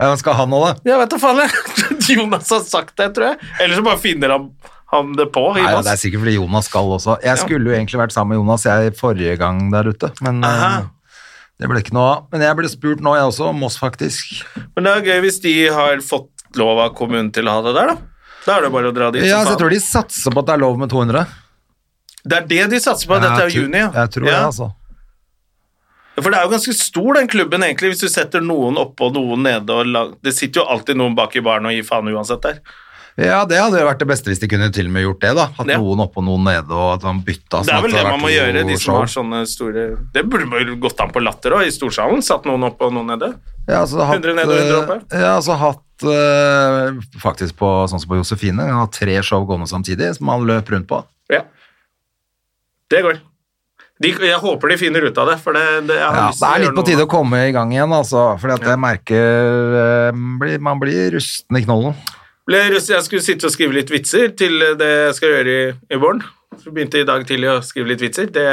S1: Ja, skal han nå da?
S2: Jeg vet da faen, jeg. Jonas har sagt det, tror jeg. Eller så bare finner han, han det på i
S1: Nei, ja,
S2: Moss.
S1: det er sikkert fordi Jonas skal også. Jeg skulle jo egentlig vært sammen med Jonas jeg forrige gang der ute, men eh,
S2: Aha.
S1: det ble ikke noe av. Men jeg ble spurt nå, jeg også, om Moss faktisk.
S2: Men det er gøy hvis de har fått lov av kommunen til å ha det der, da. Da er det bare å dra dit.
S1: Ja,
S2: som
S1: så jeg
S2: faen.
S1: tror de satser på at det er lov med 200.
S2: Det er det de satser på. Dette er
S1: Jeg
S2: jo
S1: tror-
S2: juni, ja.
S1: Jeg tror
S2: ja.
S1: det, altså.
S2: For det er jo ganske stor, den klubben, egentlig, hvis du setter noen oppe og noen nede. Og la... Det sitter jo alltid noen bak i baren og gir faen uansett der.
S1: Ja, det hadde jo vært det beste hvis de kunne til og med gjort det, da. Hatt
S2: Ja.
S1: noen oppe og noen nede, og at man bytta.
S2: Det
S1: sånn
S2: er
S1: at
S2: vel det
S1: hadde
S2: man må
S1: vært
S2: gjøre, de
S1: to
S2: som
S1: show.
S2: har sånne store Det burde man jo gått an på Latter òg, i Storsalen. Satt noen oppe og noen nede.
S1: Ja, altså, hatt,
S2: 100 sånn. ned og 100 oppe.
S1: eh, Ja, altså hatt eh, faktisk på sånn som på Josefine, han har tre show gående samtidig som han løp rundt på.
S2: Ja. Det går. De, jeg håper de finner ut av det, for det, det, jeg har
S1: Ja, det
S2: lyst til å
S1: er
S2: gjøre
S1: litt på
S2: noe.
S1: tide å komme i gang igjen, altså, fordi at jeg merker eh, blir- man blir rusten i knollen.
S2: Ble russ- Jeg skulle sitte og skrive litt vitser til eh, det jeg skal gjøre i, i morgen. Så begynte jeg i dag tidlig å skrive litt vitser. Det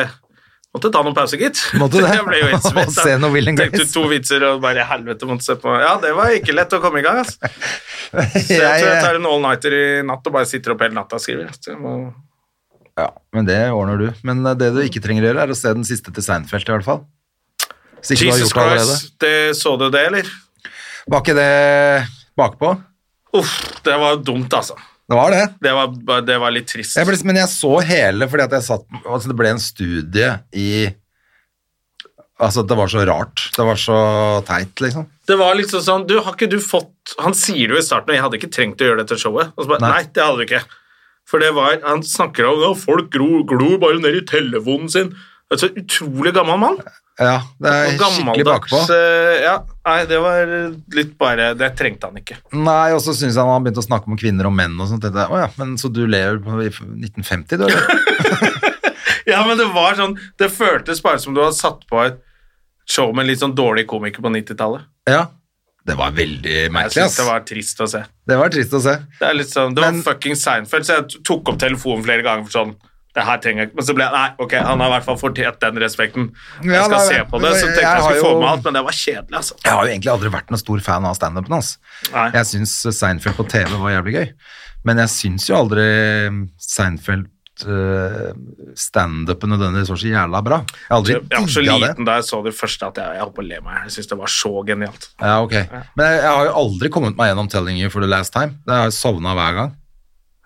S2: måtte ta noen pause, gitt.
S1: Måtte det?
S2: Jeg ble jo helt svett.
S1: Og se noe Will and Grace.
S2: Tenkte to vitser og bare helvete måtte se på. Ja, det var ikke lett å komme i gang, ass. Så jeg tror jeg tar en all-nighter i natt og bare sitter opp hele natta og skriver. Så jeg må...
S1: ja, men det ordner du. Men eh, det du ikke trenger å gjøre, er å se den siste til Seinfeld, i hvert fall. Hvis ikke du har
S2: Jesus
S1: gjort det allerede.
S2: Christ, det, så du det, eller?
S1: Var ikke det bakpå?
S2: Uff, det var dumt, altså.
S1: Det var det.
S2: Det var, bare- det var litt trist.
S1: Jeg ble, men jeg så hele fordi at jeg satt altså Det ble en studie i Altså, det var så rart. Det var så teit, liksom.
S2: Det var liksom sånn, du, har ikke du fått Han sier det jo i starten, og jeg hadde ikke trengt å gjøre dette showet. Og så bare,
S1: Nei.
S2: nei. det hadde du ikke. For det var, han snakker om at folk gro, glor bare ned i telefonen sin. Det er så utrolig gammel mann.
S1: Ja, det er
S2: Og
S1: skikkelig
S2: gammeldags,
S1: bakpå.
S2: eh, Ja, nei, det var litt bare Det trengte han ikke.
S1: Nei, og så syns jeg han begynte å snakke om kvinner og menn og sånt. tenkte jeg, Å ja, men så du lever på i 1950, du, eller?
S2: Ja, men det var sånn Det føltes bare som du hadde satt på et show med en litt sånn dårlig komiker på 90-tallet.
S1: ja. Det var veldig
S2: Jeg
S1: merkelig,
S2: synes
S1: ass.
S2: det var trist å se.
S1: Det var trist å se.
S2: Det er litt sånn, det var
S1: Men-
S2: fucking Seinfeld, så jeg t- tok opp telefonen flere ganger for sånn det her trenger jeg ikke, Men så ble jeg Nei, ok, han har i hvert fall fortjent den respekten. Jeg
S1: Ja,
S2: skal
S1: da-
S2: se på det. Så
S1: jeg
S2: tenkte jeg,
S1: har
S2: skulle få
S1: jo-
S2: med alt, men det var kjedelig, altså.
S1: Jeg har jo egentlig aldri vært noen stor fan av standupen hans.
S2: Nei.
S1: Jeg syns Seinfeld på TV var jævlig gøy, men jeg syns jo aldri Seinfeld uh, standupen nødvendigvis var så jævla bra. Jeg har aldri
S2: Jeg var så
S1: digga det.
S2: liten da jeg så det første at jeg, jeg holdt på å le meg. Jeg synes det var så genialt.
S1: Ja, ok. Men jeg, jeg har jo aldri kommet meg gjennom 'Telling You for the Last Time'. Jeg har sovna hver gang.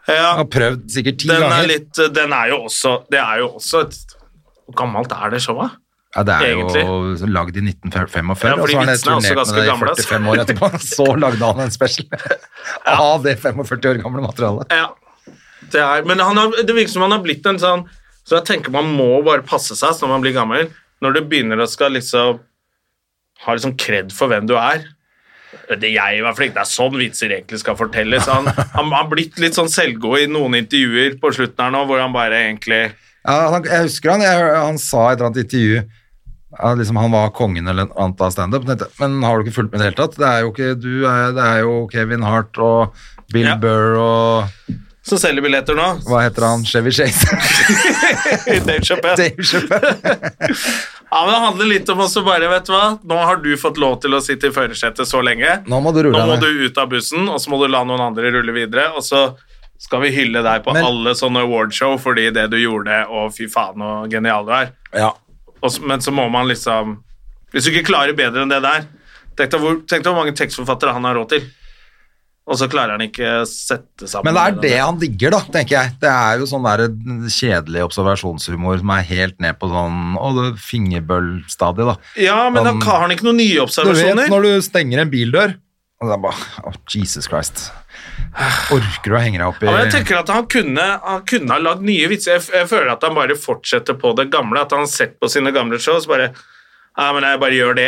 S2: Ja,
S1: Jeg har prøvd sikkert ti
S2: den
S1: ganger.
S2: er litt Den er jo også Det er jo også et Hvor gammelt er det showet?
S1: Ja, det er jo
S2: Egentlig.
S1: lagd i 1945,
S2: Ja, fordi
S1: og så har han
S2: vitsene er også
S1: turnert med
S2: ganske altså.
S1: det i
S2: gamle, ass.
S1: 45 år etterpå. Så lagde han en special av det 45 år gamle materialet.
S2: Ja. Det er, men han har, det virker som han har blitt en sånn Så jeg tenker man må bare passe seg når man blir gammel. Når du begynner å skal liksom ha liksom kred for hvem du er. Det jeg var flink, det er sånn vitser egentlig skal fortelles. Han, han har blitt litt sånn selvgod i noen intervjuer på slutten her nå, hvor han bare egentlig
S1: Ja, han, jeg husker han, jeg, han sa i et eller annet intervju ja, liksom han var kongen eller noe annet av standup. tenkte jeg, Men har du ikke fulgt med i det hele tatt? Det er jo, ikke, du er, det er jo Kevin Hart og Bill
S2: Ja.
S1: Burr og
S2: Som selger billetter nå.
S1: hva heter han? Chevy Chase?
S2: Dave Chappelle.
S1: Dave Chappelle.
S2: Ja, men Det handler litt om også bare, vet du hva Nå har du fått lov til å sitte i førersetet så lenge.
S1: Nå må du rulle
S2: Nå må
S1: deg.
S2: du ut av bussen, og så må du la noen andre rulle videre. Og så skal vi hylle deg på
S1: Men-
S2: alle sånne awardshow fordi det du gjorde, og fy faen så genial du er.
S1: Ja.
S2: Og så- men så må man liksom Hvis du ikke klarer bedre enn det der Tenk deg hvor, tenk deg hvor mange tekstforfattere han har råd til. Og så klarer han ikke sette sammen
S1: Men det er
S2: den
S1: det han digger, da, tenker jeg. Det er jo sånn der kjedelig observasjonshumor som er helt ned på sånn å, det fingerbøllstadiet, da.
S2: Ja, men da
S1: Han-
S2: har han ikke noen nye
S1: Du vet
S2: observasjoner.
S1: når du stenger en bildør og det er bare, «Å, Jesus Christ. Orker du å henge deg opp i
S2: Ja, men jeg tenker at Han kunne, han kunne ha lagd nye vitser. Jeg, f- jeg føler at han bare fortsetter på det gamle. At han har sett på sine gamle show og så bare Ja, men jeg bare gjør det.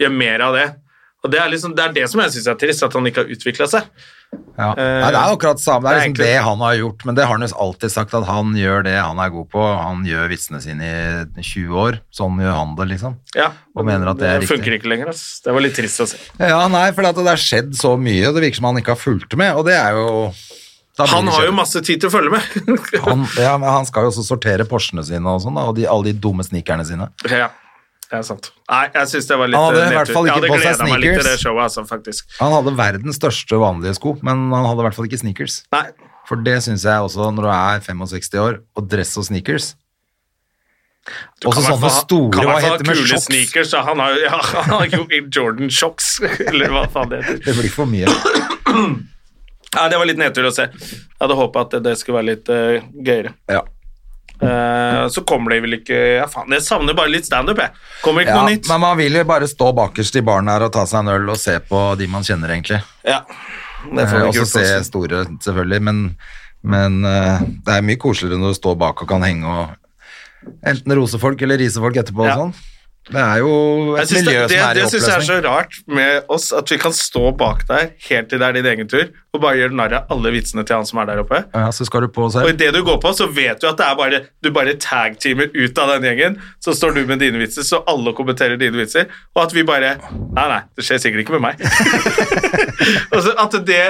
S2: jeg. Gjør mer av det. Og Det er liksom, det er det som jeg syns er trist, at han ikke har utvikla seg.
S1: Ja. Nei, det er akkurat samme. Det er
S2: det er
S1: liksom
S2: egentlig-
S1: det han har gjort, men det har han jo alltid sagt, at han gjør det han er god på. Han gjør vitsene sine i 20 år. Sånn gjør han det, liksom.
S2: Ja,
S1: Og mener at det er riktig.
S2: funker ikke lenger. Ass. Det var litt trist å se.
S1: Ja, nei, for at det har skjedd så mye, og det virker som han ikke har fulgt med, og det er jo da blir
S2: Han
S1: det
S2: har
S1: kjedelig.
S2: jo masse tid til å følge med.
S1: han, ja, men han skal jo også sortere Porschene sine og sånn, da, og de, alle de dumme sneakerne sine.
S2: ja, det er sant. Nei, jeg syns det var litt
S1: Han hadde i
S2: eh,
S1: hvert
S2: nedtur.
S1: fall ikke
S2: Jeg hadde
S1: på seg
S2: gledet meg litt til det
S1: sneakers.
S2: showet, altså, faktisk.
S1: Han hadde verdens største vanlige sko, men han hadde i hvert fall ikke sneakers.
S2: Nei,
S1: For det syns jeg også, når du er 65 år og dress og sneakers
S2: Du
S1: Også
S2: kan
S1: sånne
S2: hvertfall ha-
S1: store,
S2: kan
S1: hva
S2: hvertfall ha
S1: heter det, med
S2: kule
S1: shocks?
S2: sneakers, da. han har jo ja, han har jo Jordan shocks, eller hva faen det heter.
S1: Det blir for mye.
S2: Nei, det var litt nedtur å se. Jeg hadde håpa at det, det skulle være litt eh, gøyere.
S1: Ja.
S2: Eh, så kommer det vel ikke Ja, faen, jeg savner bare litt standup, jeg. Kommer ikke
S1: Ja,
S2: noe nytt.
S1: men man vil jo bare stå bakerst i baren her og ta seg en øl og se på de man kjenner, egentlig.
S2: Ja.
S1: Eh,
S2: Det får vi ikke
S1: Også
S2: gjort altså.
S1: se
S2: også.
S1: store, selvfølgelig, men, men eh, det er mye koseligere når du står bak og kan henge og enten rose folk eller rise folk etterpå
S2: Ja.
S1: og sånn. Det er jo
S2: Jeg
S1: et
S2: synes
S1: miljø
S2: det, det,
S1: som er i
S2: det syns jeg er så
S1: oppløsning.
S2: rart med oss, at vi kan stå bak der helt til det er din egen tur, og bare gjøre narr av alle vitsene til han som er der oppe.
S1: Ja, så skal du på
S2: Og
S1: selv.
S2: idet du går på, så vet du at det er bare, du bare tag-teamer ut av den gjengen. Så står du med dine vitser, så alle kommenterer dine vitser. Og at vi bare Nei, nei, det skjer sikkert ikke med meg. altså, at det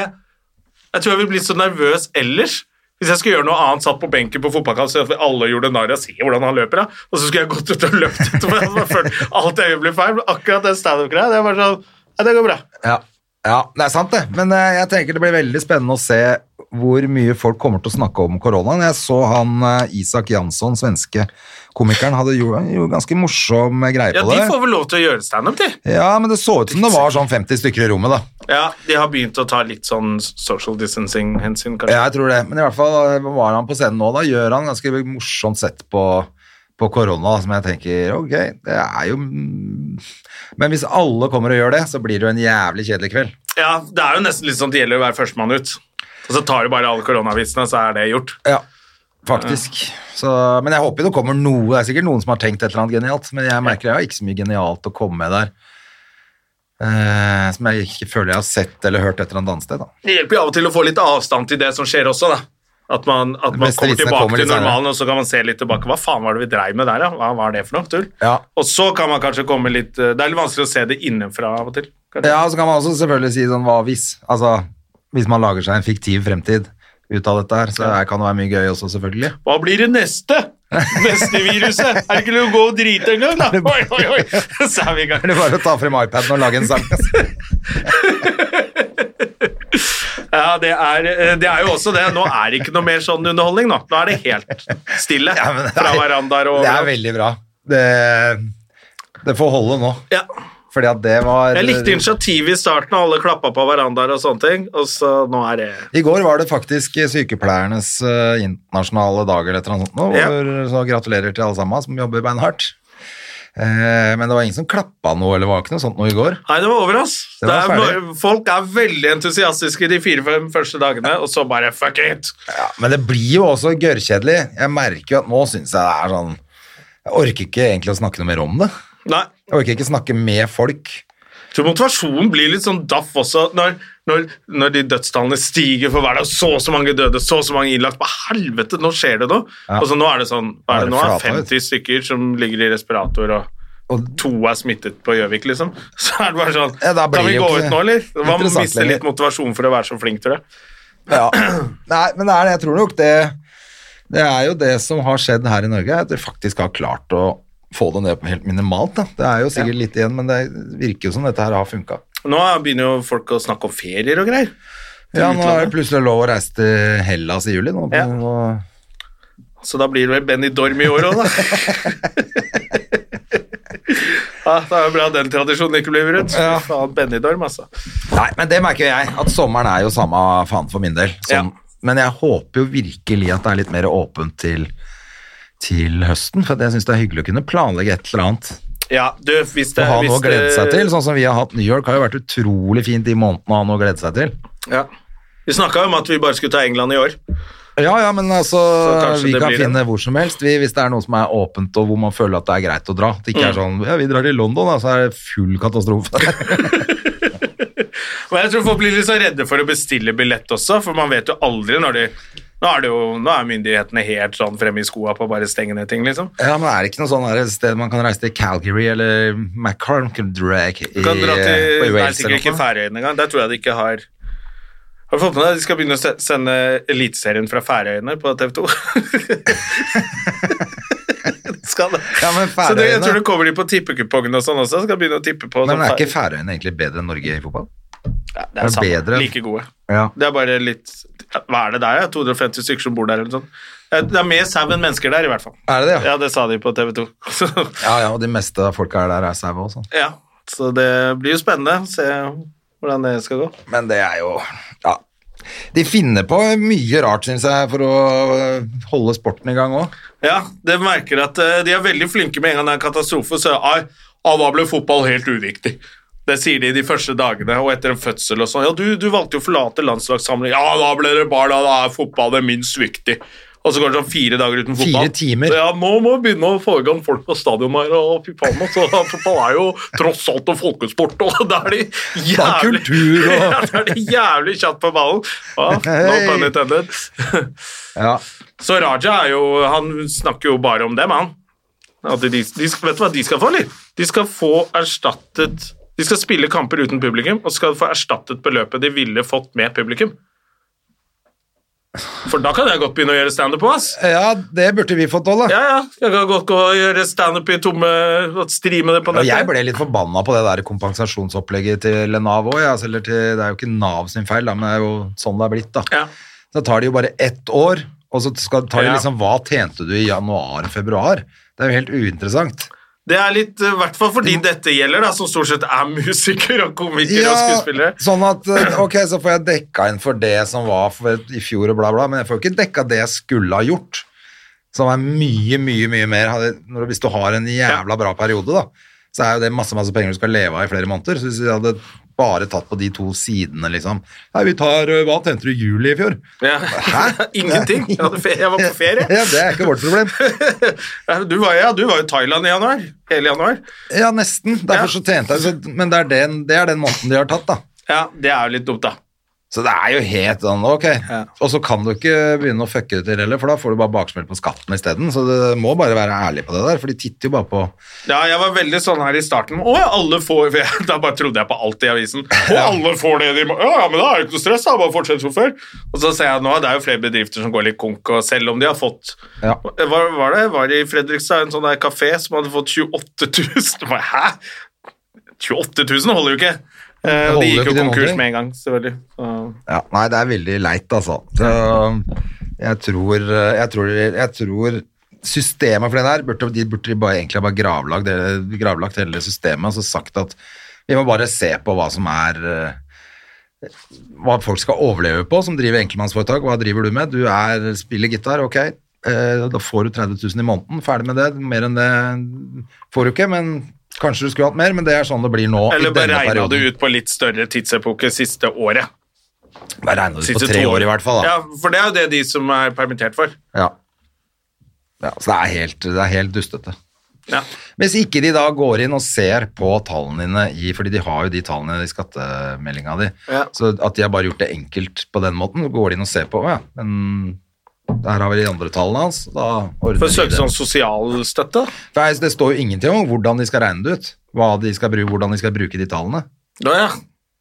S2: Jeg tror jeg ville blitt så nervøs ellers. Hvis jeg skulle gjøre noe annet, satt på benken på fotballkamp, så at vi alle gjorde narr av se hvordan han løper, da. Og så skulle jeg gått ut og løpt etterpå. Jeg hadde følt Alt jeg gjør, blir feil. Men akkurat den standup-greia, det er bare sånn Nei, det går bra.
S1: Ja. ja, det er sant det. Men eh, jeg tenker det blir veldig spennende å se hvor mye folk kommer til å snakke om koronaen. Jeg så han eh, Isak Jansson, svenske komikeren, hadde jo, han gjorde ganske morsom eh, greie
S2: Ja,
S1: på
S2: de
S1: det.
S2: får vel lov til å gjøre standup, de.
S1: Ja, men det så ut som det var sånn 50 stykker i rommet, da.
S2: Ja, de har begynt å ta litt sånn social distancing-hensyn, kanskje.
S1: Ja, jeg tror det. Men i hvert fall eh, var han på scenen nå, da. Gjør han ganske morsomt sett på, på korona, da, som jeg tenker ok, det er jo mm. Men hvis alle kommer og gjør det, så blir det jo en jævlig kjedelig kveld.
S2: Ja, det er jo nesten litt sånn at det gjelder å være førstemann ut. Og så tar du bare alle koronavitsene, så er det gjort.
S1: Ja, faktisk. Så, men jeg håper jo det kommer noe. Det er sikkert noen som har tenkt et eller annet genialt, men jeg merker jeg har ikke så mye genialt å komme med der. eh, som jeg ikke føler jeg har sett eller hørt et eller annet annet sted. Da.
S2: Det hjelper jo av og til å få litt avstand til det som skjer også, da. At man, at
S1: De
S2: man
S1: beste
S2: kommer
S1: vitsene
S2: tilbake
S1: kommer litt
S2: til
S1: senere.
S2: normalen, og så kan man se litt tilbake. Hva faen var det vi dreiv med der, da? Hva var det for noe tull?
S1: Ja.
S2: Og så kan man kanskje komme litt eh, Det er litt vanskelig å se det innenfra av og til. kanskje.
S1: Ja, og så kan man også selvfølgelig si sånn hva hvis? Altså, hvis man lager seg en fiktiv fremtid ut av dette her, så her kan det være mye gøy også, selvfølgelig.
S2: Hva blir det neste? Neste viruset? Er det ikke lov å gå og drite engang, da? Oi, oi, oi! Så er vi i gang.
S1: Det er bare å ta frem iPaden og lage en sang.
S2: Ja, det er, eh, det er jo også det. Nå er det ikke noe mer sånn underholdning, nå. Nå er det helt stille
S1: Ja, men det er-
S2: fra verandaer og
S1: Det er
S2: overalt.
S1: veldig bra. Det, det får holde nå.
S2: Ja.
S1: Fordi at det var
S2: Jeg likte initiativet i starten, og alle klappa på verandaer og sånne ting. Og så nå er det
S1: I går var det faktisk sykepleiernes eh, internasjonale dag eller et eller annet sånt nå,
S2: Ja.
S1: hvor- så gratulerer til alle sammen som jobber beinhardt. Eh, men det var ingen som klappa noe, eller var ikke noe sånt noe i går.
S2: Nei, det var over, ass.
S1: Det var
S2: Det er-
S1: ferdig.
S2: folk er veldig entusiastiske de fire-fem første dagene, og så bare fuck it!
S1: Ja, men det blir jo også gørrkjedelig. Jeg merker jo at nå syns jeg det er sånn Jeg orker ikke egentlig å snakke noe mer om det.
S2: Nei.
S1: Jeg orker ikke snakke med folk.
S2: Jeg tror motivasjonen blir litt sånn daff også når, når, når de dødstallene stiger for hver dag. Så og så mange døde, så og så mange innlagt. Hva helvete, nå skjer det noe!
S1: Ja.
S2: Og så nå er det sånn hva er det
S1: Nå
S2: nå?
S1: er det flata ut.
S2: 50 stykker som ligger i respirator og
S1: Og-
S2: to er smittet på Gjøvik, liksom, så er det bare sånn
S1: Ja, da blir
S2: Kan vi
S1: jo
S2: gå
S1: ikke
S2: ut nå, eller? Man
S1: interessant
S2: mister
S1: lenger.
S2: litt motivasjon for å være så flink til det.
S1: Ja. Nei, men det er det. Jeg tror nok det Det er jo det som har skjedd her i Norge, at vi faktisk har klart å få det ned på helt minimalt. Da. Det er jo sikkert litt igjen, men det virker jo som dette her har funka.
S2: Nå begynner jo folk å snakke om ferier og greier.
S1: Ja, nå er
S2: utlandet.
S1: det plutselig lov å reise til Hellas i juli. Nå.
S2: Ja.
S1: Nå-
S2: Så da blir det vel Benny Dorm i år òg, da. ja, det er jo bra den tradisjonen ikke blir brutt.
S1: Ja.
S2: Fy Faen, Benny Dorm, altså.
S1: Nei, men det merker jo jeg, at sommeren er jo samme faen for min del. Sånn.
S2: Ja.
S1: Men jeg håper jo virkelig at det er litt mer åpent til, til høsten, for jeg syns det er hyggelig å kunne planlegge et eller annet.
S2: Ja, du, hvis det
S1: Og ha noe å
S2: Eh, hvis det-
S1: glede seg til, sånn som vi har hatt New York. har jo vært utrolig fint de månedene å ha noe å glede seg til.
S2: Ja. Vi snakka jo om at vi bare skulle ta England i år.
S1: Ja, ja, men altså,
S2: Så kanskje
S1: vi
S2: det
S1: kan
S2: blir det.
S1: finne hvor som helst vi, hvis det er noe som er åpent og hvor man føler at det er greit å dra. At Det
S2: Mm.
S1: ikke er sånn ja, vi drar til London, da, så er det full katastrofe.
S2: Og jeg tror folk blir litt så redde for å bestille billett også, for man vet jo aldri når de Nå er, det jo, nå er myndighetene helt sånn fremme i skoa på å bare stenge ned ting, liksom.
S1: ja, men er det ikke noe sånn her sted man kan reise til Calgary eller McCarndrag i,
S2: Du kan dra
S1: eh, på
S2: til Nei,
S1: Wales eller
S2: sikkert ikke
S1: noe?
S2: Færøyene engang. Der tror jeg de ikke har Har du fått med deg at de skal begynne å se- sende Eliteserien fra Færøyene på TV 2? skal det.
S1: Ja, men
S2: Så det, jeg
S1: Færøyene-
S2: tror det kommer de på tippekupongen og sånn også. Skal begynne å tippe på
S1: Men
S2: sånn
S1: er ikke
S2: Fær-
S1: Færøyene egentlig bedre enn Norge i fotball?
S2: ja, det
S1: er
S2: er samme.
S1: bedre?
S2: Like gode.
S1: Ja.
S2: Det er bare litt Hva er det der, ja? 250 stykker som bor der, eller noe sånt? Det er mer sau enn mennesker der, i hvert fall.
S1: Er det det, ja?
S2: Ja, det sa de på TV 2. Så
S1: Ja, ja, og de meste av folka er der er sau også.
S2: ja, så det blir jo spennende å se hvordan det skal gå.
S1: Men det er jo Ja. De finner på mye rart, syns jeg, for å øh, holde sporten i gang òg.
S2: Ja, det merker at eh, de er veldig flinke med en gang det er en katastrofe, så ai, ah, da ble fotball helt uviktig. Det sier de de første dagene, og etter en fødsel og sånn. Ja, du, du valgte jo å forlate landslagssamling. Ja, da ble det barn, da, da er fotball det minst viktig. Og så går det sånn fire dager uten fotball.
S1: Fire timer.
S2: Ja, nå må vi begynne å få i gang folk på stadion her, og fy faen, altså. Fotball er jo tross alt en folkesport, og da er de jævlig
S1: er kultur, og-
S2: Ja, da er de jævlig kjatt på ballen. Ja, no
S1: Hei.
S2: pun intended.
S1: Ja.
S2: Så Raja er jo, han snakker jo bare om dem, han. At de, de, skal- vet du hva de skal få, eller? De skal få erstattet De skal spille kamper uten publikum, og skal få erstattet beløpet de ville fått med publikum. For da kan jeg godt begynne å gjøre standup på, ass.
S1: ja, det burde vi fått holde.
S2: Ja, ja. Jeg kan godt gå og gjøre standup i tomme og streame det på
S1: Og
S2: nettet.
S1: jeg ble litt forbanna på det der kompensasjonsopplegget til Nav òg. Altså, eller til- det er jo ikke Nav sin feil, da, men det er jo sånn det er blitt. da.
S2: Ja.
S1: Så tar de jo bare ett år, og så skal, tar de
S2: Ja.
S1: liksom Hva tjente du i januar-februar? Det er jo helt uinteressant.
S2: Det er litt, eh, i hvert fall fordi dette gjelder, da, som stort sett er musikere og komikere og skuespillere.
S1: sånn at eh, ok, så får jeg dekka inn for det som var for, i fjor og bla, bla, men jeg får jo ikke dekka det jeg skulle ha gjort. Som er mye, mye, mye mer. Hadde- når du- Hvis du har en jævla bra periode, da, så er jo det masse, masse penger du skal leve av i flere måneder. Så hvis vi hadde bare tatt på de to sidene, liksom Nei, vi tar eh, Hva tjente du i juli i fjor?
S2: Ja. Ingenting. Jeg, hadde fe- jeg var på ferie.
S1: Ja, det er ikke vårt problem.
S2: Ja, Du var, ja, du var i Thailand i januar. Hele januar.
S1: Ja, nesten. Derfor så tjente jeg så, Men det er, den, det er den måneden de har tatt, da.
S2: Ja, det er jo litt dumt, da.
S1: Så det er jo helt sånn, ok. Og så kan du ikke begynne å fucke det til heller, for da får du bare baksmell på skatten isteden. Så det må bare være ærlig på det der, for de titter jo bare på
S2: Ja, jeg var veldig sånn her i starten. Å, ja, alle får for jeg- Da bare trodde jeg på alt i avisen. Å, alle får det de må Ja, ja, men da er det ikke noe stress, da. Bare fortsett som før. Og så ser jeg nå, det er jo flere bedrifter som går litt konk, og selv om de har fått
S1: Ja.
S2: Var, var det var det i Fredrikstad en sånn der kafé som hadde fått 28 000? Bare, Hæ? 28 000 holder jo ikke. Eh, og
S1: holder jo
S2: de gikk jo
S1: ikke til noen
S2: konkurs
S1: ting.
S2: med en gang, selvfølgelig. Så.
S1: ja, Nei, det er veldig leit, altså. Så jeg tror Jeg tror, jeg tror systemet for det der burde de burde de bare, egentlig ha bare gravlagt, det- gravlagt hele det systemet og så sagt at vi må bare se på hva som er eh, hva folk skal overleve på som driver enkeltmannsforetak. Hva driver du med? Du er, spiller gitar, ok. Eh, Da får du 30 000 i måneden, ferdig med det. Mer enn det får du ikke, men kanskje du skulle hatt mer, men det er sånn det blir nå.
S2: Eller
S1: i denne
S2: beregna det
S1: perioden.
S2: ut på litt større tidsepoke siste året.
S1: Beregna det ut
S2: Siste
S1: på tre
S2: to
S1: år, i hvert fall. Da.
S2: Ja, For det er jo det de som er permittert for.
S1: Ja. Ja, så det er helt, det er helt dustete.
S2: Ja.
S1: Hvis ikke de da går inn og ser på tallene dine, i, fordi de har jo de tallene i skattemeldinga di,
S2: Ja.
S1: så at de har bare gjort det enkelt på den måten, så går de inn og ser på, «Å ja, men Der har vi de andre tallene hans. Da ordner
S2: For å
S1: de
S2: søke
S1: det.
S2: sånn sosialstøtte?
S1: Nei, det står jo ingenting om hvordan de skal regne det ut. Hva de skal, bru- hvordan de skal bruke de tallene.
S2: Ja, ja.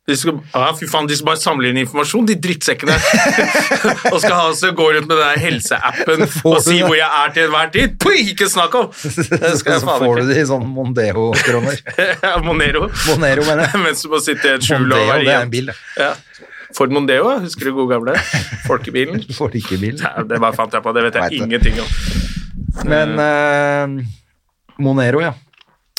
S2: De skal, ja, fy faen, de som bare samler inn informasjon, de drittsekkene. og skal ha oss til å gå rundt med den der helseappen og
S1: Får du
S2: si
S1: det?
S2: hvor jeg er til enhver tid. Pui, ikke snakk om! Det
S1: Så
S2: skal jeg faen
S1: får du
S2: ikke.
S1: de i sånn Mondeo-kroner.
S2: Monero.
S1: Monero, mener jeg.
S2: Mens du må sitte i et skjul og
S1: Mondeo,
S2: være
S1: det er en
S2: igjen.
S1: bil. det.
S2: Ja. Ford Mondeo, husker du gode gamle? Folkebilen.
S1: Du får ikke bil.
S2: Nei, det bare fant jeg på, det vet jeg
S1: Vet det.
S2: ingenting om.
S1: Men eh, Monero, ja.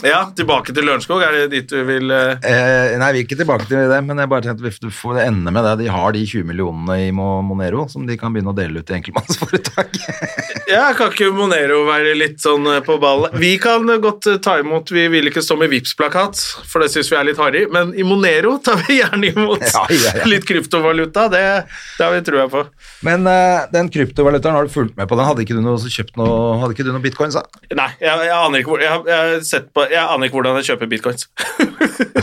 S2: Ja, tilbake til Lørenskog, er det dit du vil eh,
S1: Eh, nei, vi er ikke tilbake til det, men jeg bare tenkte vi får ende med det. De har de 20 millionene i Mo- Monero som de kan begynne å dele ut til enkeltmannsforetak.
S2: Ja, kan ikke Monero være litt sånn eh, på ballen? Vi kan eh, godt eh, ta imot, vi vil ikke stå med Vipps-plakat, for det syns vi er litt harry, men i Monero tar vi gjerne imot
S1: Ja, ja, ja.
S2: litt kryptovaluta. Det, det har vi trua på.
S1: Men eh, den kryptovalutaen har du fulgt med på. Den hadde ikke du noe, så kjøpt noe, hadde ikke du noe bitcoins, da?
S2: Nei, jeg, jeg, aner ikke hvor, jeg, har- jeg, har sett på, jeg aner ikke hvordan jeg kjøper bitcoins.
S1: Ja,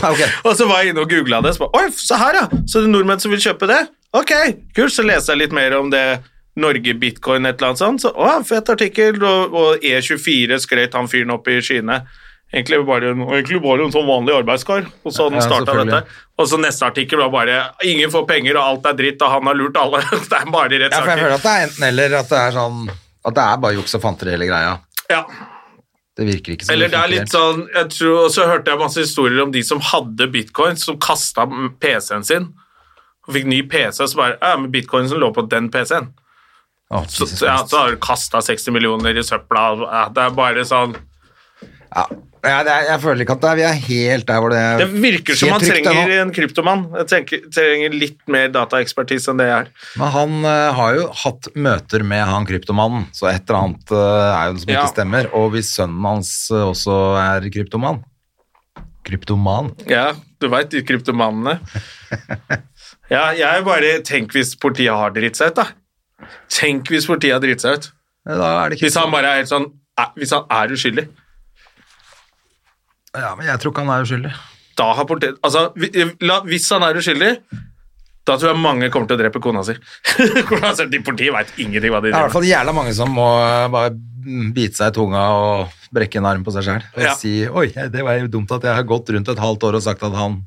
S1: Ah, ok.
S2: Og så var jeg inne og googla det. Så, bare, Oi, se her, ja! Så det er nordmenn som vil kjøpe det? Ok, kult. Så leser jeg litt mer om det Norge Bitcoin et eller annet sånt. Så, å, fett artikkel. Og, og E24 skrøt han fyren opp i skyene. Egentlig bare, en- og egentlig bare en sånn vanlig arbeidskar. Og så hadde han
S1: Ja,
S2: starta
S1: selvfølgelig.
S2: dette. Og så neste artikkel var bare 'Ingen får penger, og alt er dritt, og han har lurt alle'. det er
S1: Ja, for
S2: bare
S1: jeg
S2: rettssaker.
S1: føler at det er enten eller at det er sånn At det er bare juks og fanteri hele greia.
S2: Ja,
S1: Det virker ikke som
S2: Eller det er
S1: funker
S2: litt sånn, jeg tror, og så hørte jeg masse historier om de som hadde bitcoin, som kasta PC-en sin. Og fikk ny PC, og så bare Ja, men bitcoin som lå på den PC-en.
S1: Å,
S2: Så,
S1: Jesus
S2: ja,
S1: Christ.
S2: så har du kasta 60 millioner i søpla. Ja, det er bare sånn
S1: Ja. Ja, det er, jeg føler ikke at det er, vi er helt der hvor det er
S2: Det virker som
S1: helt
S2: man
S1: trygt, det nå.
S2: trenger en kryptomann. Jeg tenker, trenger litt mer dataekspertise enn det jeg er.
S1: Men han eh, har jo hatt møter med han kryptomannen, så et eller annet eh, er jo som
S2: Ja.
S1: ikke stemmer. Og hvis sønnen hans eh, også er kryptoman Kryptoman?
S2: Ja, du veit, de kryptomannene. Ja, jeg bare Tenk hvis politiet har dritt seg ut, da. Tenk hvis politiet har dritt seg ut.
S1: Ja, eh, Da er det
S2: Hvis han
S1: kryptoman.
S2: bare er helt sånn eh, Hvis han er uskyldig.
S1: Ja, men jeg tror ikke han er uskyldig.
S2: da har politiet Altså, vi- la, hvis han er uskyldig, da tror jeg mange kommer til å drepe kona si. Kona si, de Politiet veit ingenting hva de
S1: Det er i
S2: driver
S1: hvert
S2: med.
S1: fall jævla mange som må eh, bare mm, bite seg i tunga og brekke en arm på seg sjøl. Og
S2: Ja.
S1: si 'oi, det var jo dumt at jeg har gått rundt et halvt år og sagt at han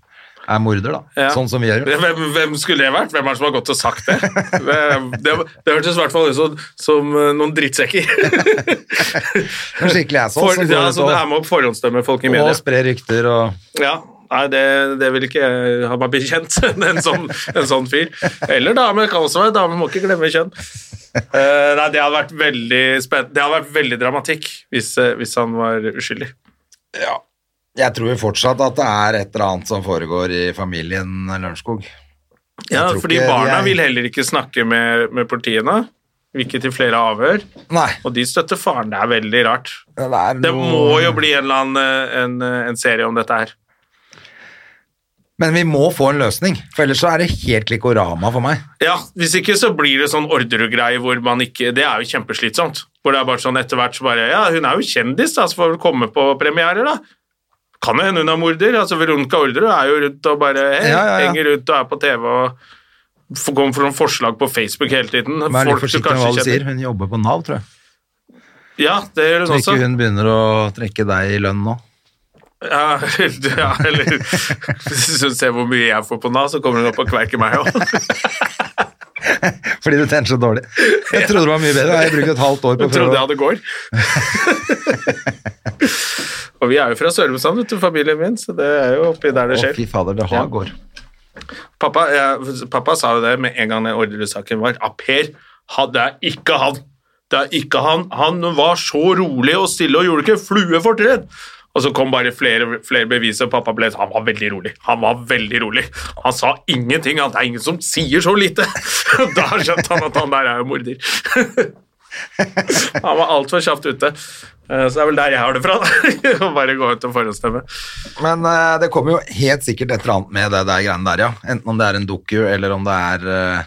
S1: er morder', da.
S2: Ja.
S1: Sånn som vi gjør.
S2: Hvem, hvem skulle det vært? Hvem er det som har gått og sagt det? Det, det, det hørtes i hvert fall ut som, som eh, noen drittsekker.
S1: Men Skikkelig asshole
S2: For,
S1: som
S2: ja,
S1: går ut
S2: så det her
S1: og,
S2: med å forhåndsdømme folk i
S1: og
S2: media.
S1: sprer rykter og
S2: Ja, nei, det, det vil ikke jeg ha meg bekjent, en sånn, en sånn fyr. Eller dame, kan også være dame, må ikke glemme kjønn. Eh, nei, det hadde vært veldig spennende. Det hadde vært veldig dramatikk hvis, eh, hvis han var uskyldig.
S1: Jeg tror jo fortsatt at det er et eller annet som foregår i familien Lørenskog.
S2: Ja,
S1: tror
S2: fordi
S1: ikke de
S2: barna
S1: er-
S2: vil heller ikke snakke med, med partiene, ikke til flere avhør,
S1: Nei,
S2: og de støtter faren. Det er veldig rart.
S1: det er noe
S2: Det må jo bli en eller annen eh, en, eh, en serie om dette her.
S1: Men vi må få en løsning, for ellers så er det helt Likorama for meg.
S2: Ja, hvis ikke så blir det sånn ordregreie hvor man ikke Det er jo kjempeslitsomt. Hvor det er bare sånn etter hvert så bare Ja, hun er jo kjendis, da, så får hun komme på premierer, da. Kan jo hende hun er morder. altså Veronica Orderud er jo rundt og bare hei,
S1: Ja, ja, ja.
S2: henger rundt og er på TV og f- kommer for noen forslag på Facebook hele tiden.
S1: Vær litt
S2: Folk du
S1: forsiktig med
S2: kanskje
S1: hva du
S2: kjenner.
S1: sier. Hun jobber på Nav, tror jeg.
S2: Ja, det gjør hun
S1: Så
S2: også.
S1: ikke hun begynner å trekke deg i lønn nå.
S2: Ja, ja, eller Hvis hun ser hvor mye jeg får på Nav, så kommer hun opp og kverker meg òg.
S1: Fordi du tjener så dårlig. Jeg trodde det var mye bedre. Jeg brukte et halvt år på
S2: Jeg trodde jeg hadde gård. og vi er jo fra Sørumsand, vet du, familien min, så det er jo oppi der det
S1: Å,
S2: skjer.
S1: fy fader, det har
S2: Ja.
S1: går.
S2: Pappa, jeg, pappa sa jo det med en gang den ordresaken var. Ah, Per, han- det er ikke han. Det er ikke han. Han var så rolig og stille og gjorde ikke flue fortred. Og så kom bare flere, flere bevis, og pappa ble Han var veldig rolig. Han var veldig rolig. Han sa ingenting. Han, det er ingen som sier så lite. da skjønte han at han der er jo morder. han var altfor kjapt ute. Eh, Så det er vel der jeg har det fra. da. Å bare gå ut og forhåndsstemme.
S1: Men eh, det kommer jo helt sikkert et eller annet med det der greiene der, ja. Enten om det er en doku, eller om det er eh,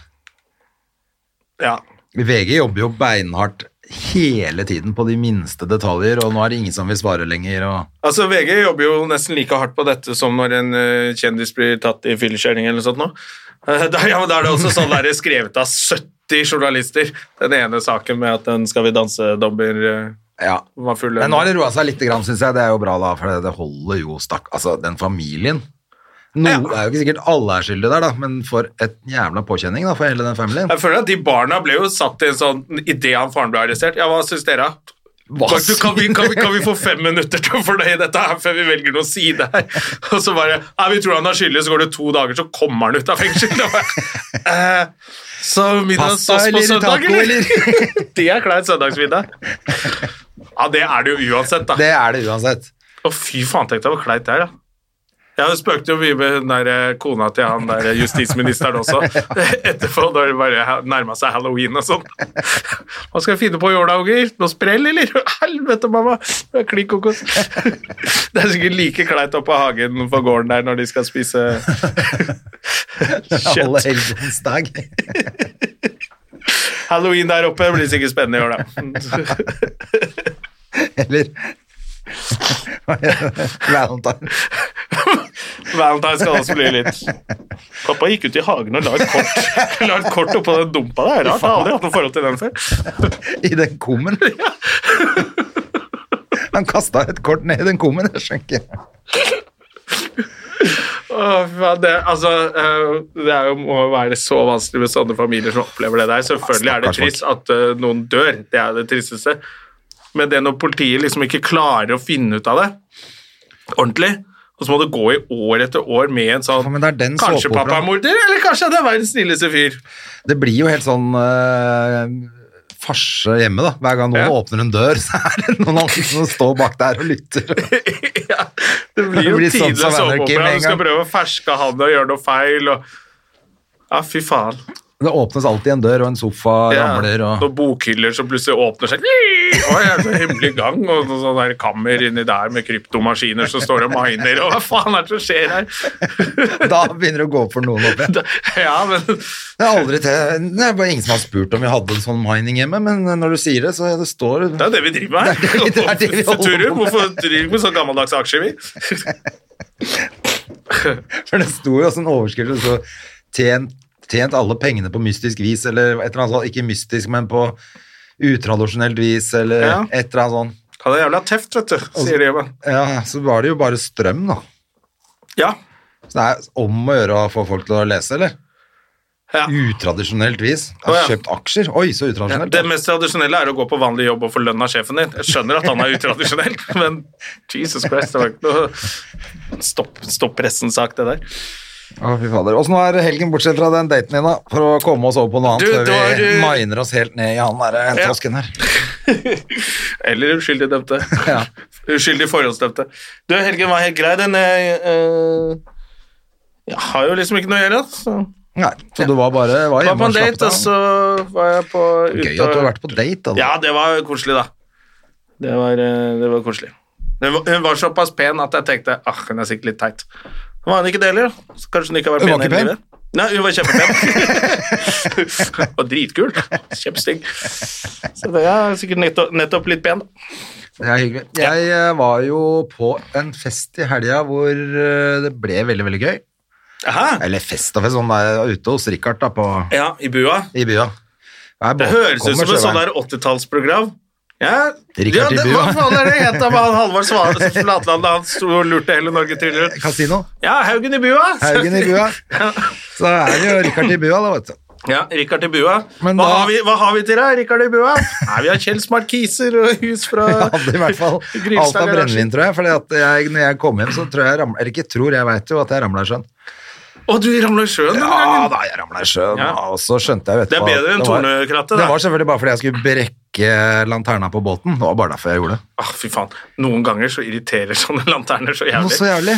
S2: Ja.
S1: VG jobber jo beinhardt hele tiden på de minste detaljer, og nå er det ingen som vil svare lenger. Og...
S2: Altså, VG jobber jo nesten like hardt på dette som når en eh, kjendis blir tatt i fyllekjøring eller noe sånt nå. Eh, da, ja, men da er det også sånn der skrevet av 70 80 journalister. Den ene saken med at den Skal vi danse-dommer eh,
S1: Ja.
S2: var full.
S1: Men nå har det roa seg litt, syns jeg. Det er jo bra, da, for det- det holder jo stakk. Altså, den familien no, Det er jo ikke sikkert alle er skyldige der, da, men for et jævla påkjenning da, for hele den familien.
S2: Jeg føler at de barna ble jo satt i en sånn idé han faren ble arrestert. Ja, hva syns dere? Kan, du, kan, vi, kan, vi, kan vi få fem minutter til å fornøye dette her før vi velger noen side her? Og så bare Nei, vi tror han er skyldig, så går det to dager, så kommer han ut av fengsel. Og bare, eh, så
S1: Pasta
S2: middagssaus på
S1: eller
S2: søndag,
S1: taco,
S2: eller? Det er klein søndagsmiddag. Ja, det er det jo uansett, da.
S1: Det er det uansett.
S2: Å, fy faen, tenk deg hvor kleint det er, da. Jeg spøkte jo mye med hun der eh, kona til han der eh, justisministeren også, etterpå, da det bare ha- nærma seg halloween og sånn. Hva skal jeg finne på i år da, unger? Noe sprell, eller? Helvete, mamma! Det er klin kokos. Det er sikkert like kleint oppe av hagen på gården der når de skal spise
S1: Alle
S2: kjøtt.
S1: helgens dag.
S2: Halloween der oppe blir sikkert spennende i år, da.
S1: Eller Valentine.
S2: Valentine skal også bli litt Pappa gikk ut i hagen og la et kort, la et kort oppå den dumpa der. Rart, jeg har aldri hatt noe forhold til den før.
S1: I den kummen. Han kasta et kort ned i den kummen, jeg skjønner ikke.
S2: Åh, fy faen, det, altså, eh, det er jo, må være så vanskelig med sånne familier som opplever det der. Selvfølgelig er det trist at eh, noen dør, det er det tristeste. Men det når politiet liksom ikke klarer å finne ut av det ordentlig, og så må det gå i år etter år med en sånn
S1: Ja, men det er den
S2: Kanskje
S1: såpeoperaen.
S2: pappa er morder, eller kanskje han er verdens snilleste fyr.
S1: Det blir jo helt sånn eh, farse hjemme, da. Hver gang noen
S2: Ja.
S1: åpner en dør, så er det noen andre som står bak der og lytter.
S2: ja, det blir
S1: Det
S2: jo
S1: blir sånn
S2: tidløs
S1: som Anarchy
S2: såpeopera.
S1: med en
S2: Du skal
S1: gang.
S2: prøve å ferske han og gjøre noe feil. Og... Ja, fy faen.
S1: Det åpnes alltid en dør, og en sofa
S2: Ja.
S1: ramler, og
S2: Noen bokhyller som plutselig åpner seg. Oi, er det så hemmelig gang, og noe sånn der kammer inni der med kryptomaskiner som står og miner, og hva faen er det som skjer her?
S1: da begynner det å gå opp for noen opp igjen.
S2: Da- ja, men
S1: Det er aldri til Det er bare ingen som har spurt om vi hadde en sånn mining hjemme, men når du sier det, så det står
S2: det er jo det vi driver med
S1: Det er det vi- det er det vi holder på med.
S2: Futurum, hvorfor driver vi med sånn gammeldags aksjer, vi?
S1: For det sto jo også en overskrift som sto tjent, 'Tjent alle pengene på mystisk vis', eller et eller annet sånt. Ikke mystisk, men på utradisjonelt vis, eller
S2: Ja.
S1: et eller annet sånt.
S2: Han er jævla teft, vet du, sier de. men-
S1: Ja, så var det jo bare strøm, da.
S2: Ja.
S1: Så det er om å gjøre å få folk til å lese, eller?
S2: ja.
S1: Utradisjonelt vis. Jeg har
S2: Å, ja.
S1: kjøpt aksjer. Oi, så
S2: Ja,
S1: utradisjonelt.
S2: det mest tradisjonelle er å gå på vanlig jobb og få lønn av sjefen din. Jeg skjønner at han er utradisjonell, men Jesus Christ, det var ikke noe stopp, stopp pressen-sak, det der.
S1: Å, fy fader. Åssen var helgen, bortsett fra den daten din, da? For å komme oss over på noe annet,
S2: Du,
S1: før
S2: det var,
S1: vi
S2: eh,
S1: miner oss helt ned i han derre
S2: Ja.
S1: tosken her.
S2: Eller uskyldig dømte.
S1: Ja.
S2: Uskyldig forhåndsdømte. Du, helgen var helt grei, den. Jeg, eh, jeg har jo liksom ikke noe å gjøre. Så.
S1: Nei, så du var bare var
S2: Var
S1: hjemme
S2: på en
S1: og slappet
S2: date, og så var jeg på ute
S1: Gøy at du har vært på date, da.
S2: Ja, det var koselig, da. Det var, eh, det var koselig. Hun var, hun var såpass pen at jeg tenkte ah, hun er sikkert litt teit. Hun var hun ikke det heller. så Kanskje hun ikke har vært
S1: Hun var
S2: pen
S1: ikke pen?
S2: hele livet. Nei, hun var kjempepen. og dritkul. Kjempestygg. Så det er sikkert nettopp, nettopp litt pen.
S1: Det er hyggelig. Jeg eh, var jo på en fest i helga hvor eh, det ble veldig, veldig gøy.
S2: Aha.
S1: Eller fest og fest, sånn der ute hos Richard da, på,
S2: Ja, i bua.
S1: i bya. Jeg
S2: Det
S1: bare-
S2: høres ut
S1: kommer
S2: som et sånn
S1: sjøveien.
S2: der 80-tallsprogram. Ja, ja
S1: Richard i
S2: det,
S1: bua.
S2: hva faen er det het da med han Halvard Sva- Flatland da han sto og lurte hele Norge tryllere?
S1: Kasino.
S2: Ja, Haugen i bua!
S1: Haugen i bua. Så er det jo Richard i bua, da, vet du.
S2: Ja, Rikard i bua.
S1: Men
S2: hva,
S1: da-
S2: har vi, hva har vi til deg, Rikard i bua? Nei, vi har Kjells markiser og hus fra
S1: Jeg hadde i hvert fall alt
S2: Grimstad
S1: av
S2: garasje.
S1: brennevin, tror jeg. For jeg, når jeg kom hjem, så tror jeg jeg ramla Eller ikke tror, jeg veit jo at jeg ramla i sjøen.
S2: Å, du ramla i sjøen denne
S1: Ja
S2: gangen.
S1: da, jeg ramla i sjøen,
S2: Ja.
S1: og så skjønte jeg jo
S2: Det er
S1: etterpå at
S2: bedre enn
S1: var-
S2: tornekrattet,
S1: Det
S2: da.
S1: var selvfølgelig bare fordi jeg skulle brekke lanterna på båten. Det var bare derfor jeg gjorde det.
S2: Ah, fy faen. Noen ganger så irriterer sånne lanterner så
S1: Noe
S2: jævlig.
S1: så jævlig.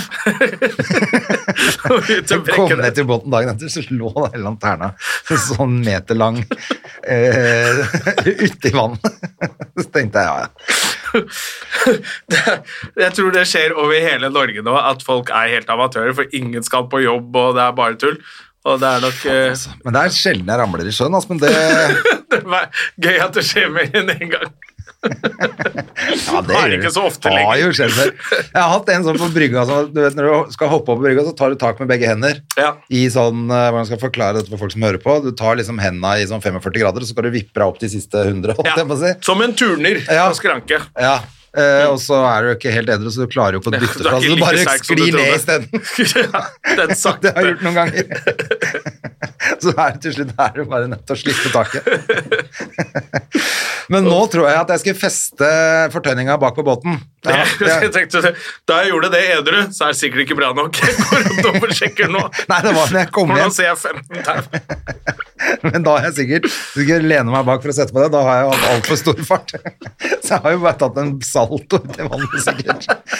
S2: Og
S1: Så
S2: ut og
S1: kom
S2: brekker
S1: ned
S2: det.
S1: til båten dagen etter, så lå da hele lanterna en sånn meter lang eh, uti vannet. Så tenkte jeg ja, ja.
S2: Jeg tror det skjer over hele Norge nå, at folk er helt amatører, for ingen skal på jobb, og det er bare tull. Og det er nok eh,
S1: Men det er sjelden jeg ramler i sjøen, altså. Men det
S2: det er gøy at det skjer mer enn én gang.
S1: Ja, det
S2: Har
S1: gjør
S2: ikke så ofte
S1: Har
S2: lenger.
S1: jo skjedd før. Jeg har hatt en sånn på brygga som du vet, Når du skal hoppe opp på brygga, så tar du tak med begge hender.
S2: Ja.
S1: I sånn, eh, Hvordan skal jeg forklare dette for folk som hører på? Du tar liksom henda i sånn 45 grader, og så skal du vippe deg opp de siste 100. holdt jeg på å si.
S2: Som en turner
S1: Ja.
S2: på skranke.
S1: Ja, eh, Og så er du ikke helt edru, så du klarer jo ikke å bytte
S2: Du er
S1: fra.
S2: ikke
S1: Så du altså,
S2: like
S1: bare
S2: sterk som du
S1: sklir ned
S2: trodde.
S1: isteden.
S2: Ja, Den
S1: Det
S2: sakte.
S1: har jeg gjort noen ganger. Så er det til slutt er du bare nødt til å slippe taket. Men nå tror jeg at jeg skal feste fortøyninga bak på båten. Ja,
S2: Jeg tenkte, da jeg gjorde det edru, så er det sikkert ikke bra nok. Jeg går rundt og sjekker nå.
S1: Nei, det var når jeg kom
S2: For nå
S1: hjem.
S2: ser jeg 15 tau.
S1: Men da har jeg sikkert Hvis jeg lener meg bak for å sette på det, da har jeg jo hatt altfor stor fart. Så jeg har jo bare tatt en salto til vannet, sikkert.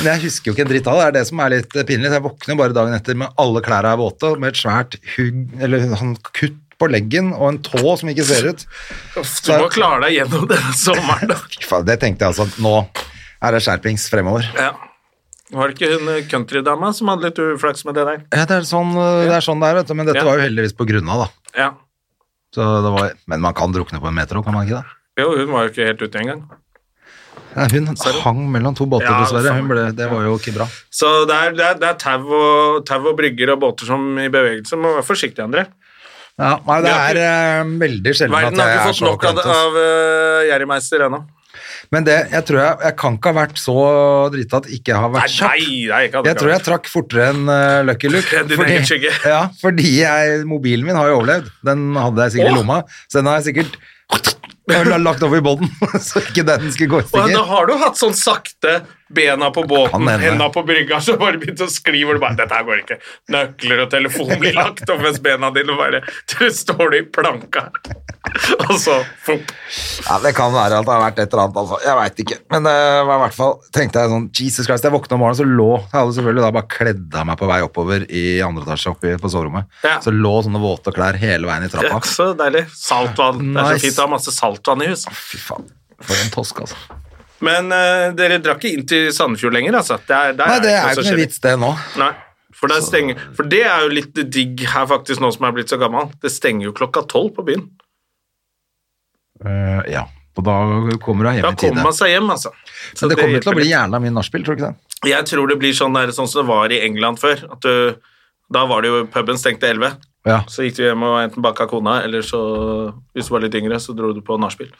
S1: Men jeg husker jo ikke en dritt av det. Det er det som er litt pinlig. Jeg våkner bare dagen etter med alle klærne er våte, og med et svært hugg Eller sånn kutt på leggen og en tå som ikke ser ut.
S2: Du må klare deg gjennom denne sommeren, da.
S1: Fy faen, Det tenkte jeg altså at nå er det skjerpings fremover.
S2: Ja. Var det ikke hun eh, countrydama som hadde litt uflaks med det der?
S1: Ja, det er sånn det er, sånn det er vet du. Men dette
S2: Ja.
S1: var jo heldigvis på grunna, da.
S2: Ja.
S1: Så det var, men man kan drukne på en meter òg, kan man ikke det?
S2: Jo, hun var jo ikke helt ute engang.
S1: Nei, Hun hang mellom to båter,
S2: Ja,
S1: dessverre.
S2: faen.
S1: Hun ble, det var jo ikke bra.
S2: Så det er, det er, det er tau, og, tau og brygger og båter som i bevegelse. Må være forsiktig, André.
S1: Ja, nei, det
S2: Vi har
S1: er eh, veldig sjelden at
S2: Verden har
S1: jeg
S2: ikke
S1: er
S2: fått
S1: så
S2: nok av,
S1: oppglemt, ass.
S2: av uh, Jerrymeister ennå.
S1: Men det, jeg tror jeg, jeg kan ikke ha vært så drita at ikke jeg har
S2: Nei,
S1: vært
S2: nei,
S1: kjapp.
S2: nei, ikke hadde
S1: Jeg tror jeg trakk fortere enn eh, Lucky Luke.
S2: Enn din egen skygge.
S1: ja, fordi jeg, mobilen min har jo overlevd. Den hadde jeg sikkert i lomma, så den har jeg sikkert jeg har lagt over i båten, så ikke den skulle gå i
S2: Og da
S1: stykker.
S2: har du hatt sånn sakte bena på båten,
S1: Kan hende.
S2: henda på brygga, så bare begynte å skli hvor du bare Dette her går ikke. Nøkler og telefon blir lagt over mens bena dine bare Du står du i planka, og så fomp.
S1: Ja, det kan være at det har vært et eller annet, altså. Jeg veit ikke. Men eh, i hvert fall tenkte jeg sånn Jesus Christ, jeg våkna om morgenen, så lå Jeg hadde selvfølgelig da bare kledd av meg på vei oppover i andre etasje oppe på soverommet.
S2: Ja.
S1: Så lå sånne våte klær hele veien i
S2: Det
S1: trappa.
S2: er så deilig. Saltvann. Det er
S1: Nice.
S2: så fint å ha masse saltvann i hus.
S1: Fy faen, for en tosk, altså.
S2: Men eh, dere drar ikke inn til Sandefjord lenger, altså? Det er, der
S1: Nei, det er jo
S2: noe som
S1: ikke noe
S2: skjer.
S1: vits, det nå.
S2: Nei. For, der stenger, for det er jo litt digg her faktisk, nå som jeg er blitt så gammel. Det stenger jo klokka tolv på byen.
S1: Eh, ja, og da kommer du deg hjem
S2: Da
S1: i
S2: kommer
S1: tide.
S2: man seg hjem, altså. Så
S1: Men det kommer til å
S2: hjelper
S1: bli
S2: litt.
S1: jævla mye nachspiel, tror du ikke det?
S2: Jeg tror det blir sånn, der, sånn som det var i England før. At du, da var det jo puben stengte 11.
S1: Ja.
S2: Så gikk du hjem og enten baka kona, eller så, hvis du var litt yngre, så dro du på nachspiel.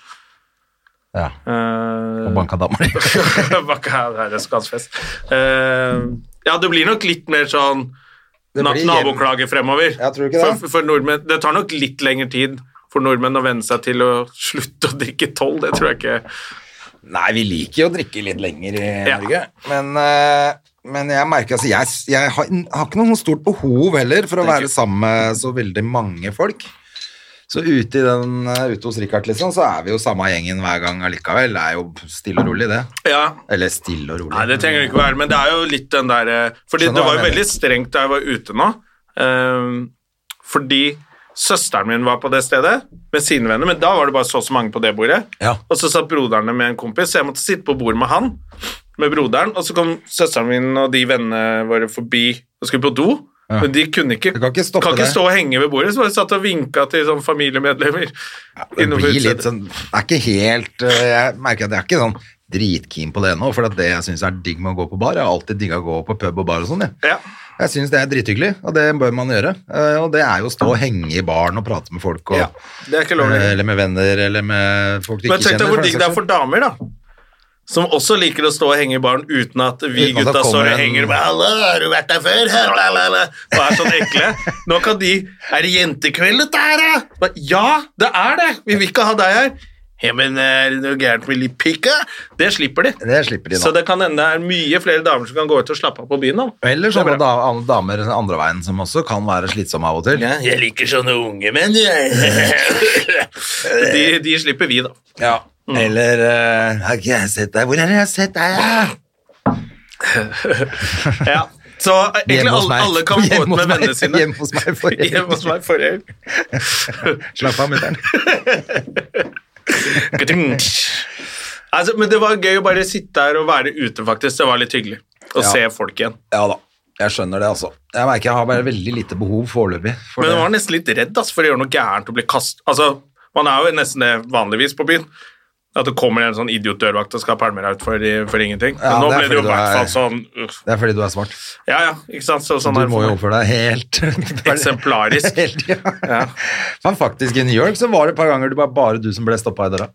S1: ja.
S2: Eh,
S1: Og banka dama di.
S2: baka her er skansfest. Eh, ja, det blir nok litt mer sånn
S1: Det
S2: na
S1: blir hjem-
S2: naboklage fremover.
S1: Ja, tror du ikke det?
S2: For, for nordmenn, det tar nok litt lengre tid for nordmenn å venne seg til å slutte å drikke tolv. Det tror jeg ikke.
S1: Nei, vi liker jo å drikke litt lenger i
S2: Ja.
S1: Norge, men, eh, men jeg merker altså, jeg, jeg har, har ikke noe sånn stort behov heller for å være sammen med så veldig mange folk. Så ute, i den, eh, ute hos Richard, liksom, så er vi jo samme gjengen hver gang allikevel. Det er jo stille og rolig, det.
S2: Ja,
S1: Eller stille og rolig.
S2: Nei, det trenger det ikke være, men det er jo litt den der eh, Fordi
S1: Skjønner
S2: det
S1: hva jeg
S2: var jo
S1: mener.
S2: veldig strengt da jeg var ute nå. ehm, fordi søsteren min var på det stedet med sine venner, men da var det bare så og så mange på det bordet.
S1: Ja.
S2: Og så satt broderne med en kompis, så jeg måtte sitte på bord med han, med broderen, og så kom søsteren min og de vennene våre forbi og skulle på do.
S1: Ja.
S2: Men de kunne ikke,
S1: Du kan ikke stoppe det.
S2: stå og henge ved bordet, så bare satt og vinka til sånn familiemedlemmer.
S1: Det
S2: innenfor
S1: blir
S2: utestedet.
S1: litt sånn Det er ikke helt eh, Jeg merker at jeg er ikke sånn dritkeen på det nå, for at det jeg syns er digg med å gå på bar Jeg har alltid digga å gå på pub og bar og sånn, jeg.
S2: Ja.
S1: Jeg syns det er drithyggelig, og det bør man gjøre. Eh, Og det er jo å stå og henge i baren og prate med folk, og,
S2: ja. Det er ikke lov
S1: eh,
S2: lenger.
S1: eller med venner, eller med folk du
S2: Men
S1: ikke
S2: tenk
S1: kjenner.
S2: deg
S1: for
S2: hvor
S1: den
S2: digg det
S1: saks
S2: er for damer, da. Som også liker å stå og henge i baren uten at vi
S1: Uten at det
S2: gutta står
S1: kommer
S2: og
S1: en-
S2: henger og bare, Hallo, har du vært der før? Lalalala. Og er sånn ekle. Nå kan de Er det jentekveld dette her, da? Bare, Ja, det er det! Vi vil ikke ha deg her. Ja, men eh, er det noe gærent med litt pikk, da? Det slipper de.
S1: skyld. Det slipper de
S2: Så
S1: nå.
S2: det kan hende det er mye flere damer som kan gå ut og slappe av på byen. da.
S1: Eller
S2: Det er
S1: sånne
S2: bra.
S1: da- an- damer andre veien som også kan være slitsomme av og til.
S2: Ja, jeg liker sånne unge menn, jeg. de, de slipper vi, da.
S1: Ja.
S2: Mm.
S1: Eller eh, Har ikke jeg sett deg? Hvor er det jeg har sett deg? Ja?
S2: Ja. Så eh, egentlig
S1: Hjemme hos
S2: alle,
S1: meg.
S2: alle kan gå
S1: Hjemme
S2: ut med
S1: hos meg.
S2: vennene sine.
S1: Hjemme hos meg forrige
S2: Hjemme hos meg forrige helg.
S1: Slapp av, mutter'n.
S2: altså, men det var gøy å bare sitte her og være ute, faktisk. Det var litt hyggelig å
S1: Ja.
S2: se folk igjen.
S1: Ja da, jeg skjønner det altså. Jeg merker jeg har bare veldig lite behov foreløpig. For
S2: Men jeg var
S1: det.
S2: nesten litt redd altså, for å gjøre noe gærent og bli kastet. Altså, man er jo nesten det vanligvis på byen. At det kommer en sånn idiot-dørvakt og skal pælme deg ut for, for ingenting.
S1: Ja,
S2: Men nå
S1: det er
S2: ble det jo
S1: fordi
S2: i
S1: du
S2: hvert
S1: er-
S2: fall sånn uff.
S1: Det er fordi du er smart.
S2: Ja, ja, ikke sant? Så, sånn
S1: Du
S2: er det
S1: må
S2: for
S1: jo
S2: meg.
S1: oppføre deg helt
S2: Eksemplarisk.
S1: Helt, ja.
S2: Ja.
S1: Men faktisk, i New York så var det et par ganger det var bare du som ble stoppa i døra.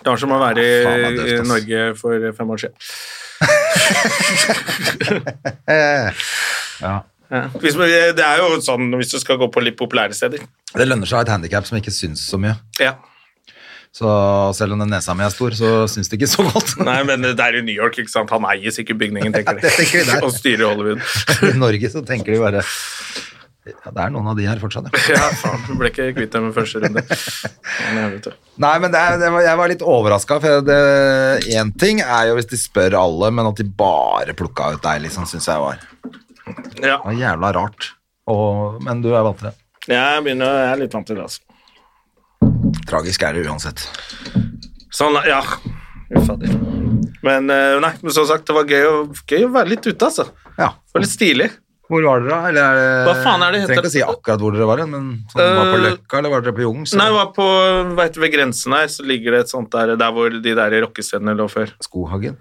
S2: Det var som å være i,
S1: Ah, Faen, det er døvt,
S2: i
S1: ass.
S2: Norge for fem år siden.
S1: Eh, ja.
S2: Hvis, man- det er jo sånn hvis du skal gå på litt populære steder.
S1: Det lønner seg å ha et handikap som ikke syns så mye.
S2: Ja.
S1: Så selv om den nesa mi er stor, så syns det ikke så godt.
S2: Nei, men det er i New York, ikke sant? Han eier sikkert bygningen, tenker
S1: Ja, det tenker vi
S2: de.
S1: der.
S2: og styrer Hollywood.
S1: I Norge så tenker de bare ja, Det er noen av de her fortsatt, ja.
S2: Ja, faen, du ble ikke kvitt dem i første runde. Nei, vet du.
S1: Nei, men det, er- det var, jeg var litt overraska. Én ting er jo hvis de spør alle, men at de bare plukka ut deg, liksom, syns jeg var,
S2: Ja,
S1: var jævla rart. Og, men du er vant til det.
S2: jeg, begynner, jeg er litt vant til det, altså.
S1: Tragisk er det uansett.
S2: Sånn, ja. Fy fader. Men eh, nei, men som sagt, det var gøy å, gøy å være litt ute, altså. Det
S1: Ja.
S2: var litt stilig.
S1: Hvor var dere, da? Eller er det,
S2: Hva faen er det heter?
S1: Trenger ikke å si akkurat hvor dere var, men sånn, var det på
S2: Øh,
S1: Løkka, eller var dere på Jung? Så
S2: Nei, jeg var på, vet, ved grensen her, så ligger det et sånt der, der hvor de der rockestedene lå før.
S1: Skohagen?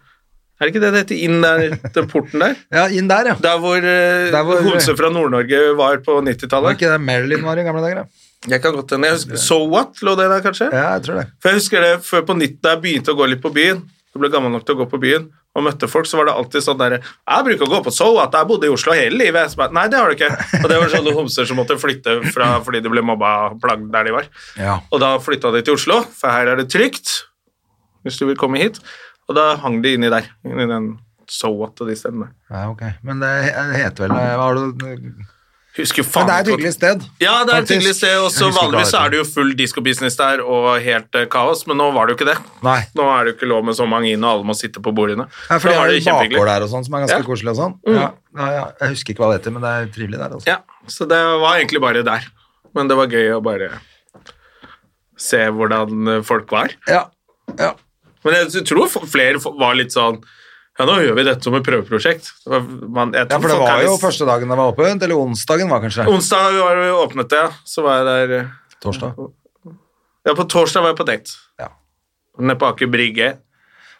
S2: Er det ikke det det heter? Inn der, den porten der?
S1: Ja, inn der, ja.
S2: Der hvor, eh,
S1: Der hvor-
S2: Homse fra Nord-Norge var på
S1: Var
S2: 90-tallet.
S1: ikke det Marilyn var i gamle dager, da?
S2: Jeg kan godt hende. Jeg husker- So What lå det der, kanskje?
S1: Ja, jeg tror det.
S2: For jeg husker det før på 90, da jeg begynte å gå litt på byen, du ble gammel nok til å gå på byen, og møtte folk, så var det alltid sånn der, jeg bruker å gå på Soul, at jeg bodde i Oslo hele livet. Jeg bare, Nei, det har du ikke. Og det var sånne homser som måtte flytte fra, fordi de ble mobba og plagd der de var.
S1: Ja.
S2: Og da flytta de til Oslo, for her er det trygt, hvis du vil komme hit. Og da hang de inni der, inni den So What og de stedene.
S1: ja, ok. Men det heter vel hva har du,
S2: Husker
S1: Men
S2: faen
S1: det er et
S2: ikke hva-
S1: hyggelig sted.
S2: Ja, det er et
S1: faktisk.
S2: hyggelig sted, og så
S1: Jeg husker
S2: vanligvis
S1: bra
S2: er det jo full diskobusiness der og helt eh, kaos, men nå var det jo ikke det.
S1: Nei.
S2: Nå er det jo ikke lov med så mange inn, og alle må sitte på bordene.
S1: Ja, for de
S2: Da var
S1: har
S2: det
S1: jo bakgård
S2: kjempehyggelig.
S1: der og sånn, som er ganske
S2: Ja. Mm.
S1: koselig og sånn. Ja. Ja, ja. Jeg husker ikke hva det heter, men det er trivelig der, altså.
S2: Ja, så det var egentlig bare der. Men det var gøy å bare se hvordan eh, folk var.
S1: Ja. ja.
S2: Men jeg s- tror f- flere f- var litt sånn Ja, nå gjør vi dette som et prøveprosjekt. Det var- Man,
S1: Ja,
S2: jeg tror
S1: for det
S2: folk
S1: var
S2: er
S1: jo
S2: litt-
S1: første dagen det var åpent, eller onsdagen var kanskje.
S2: Onsdag var det jo åpnet det, ja. Så var jeg der eh,
S1: Torsdag.
S2: Ja, på torsdag var jeg på date.
S1: Ja.
S2: Nede på Aker Brygge.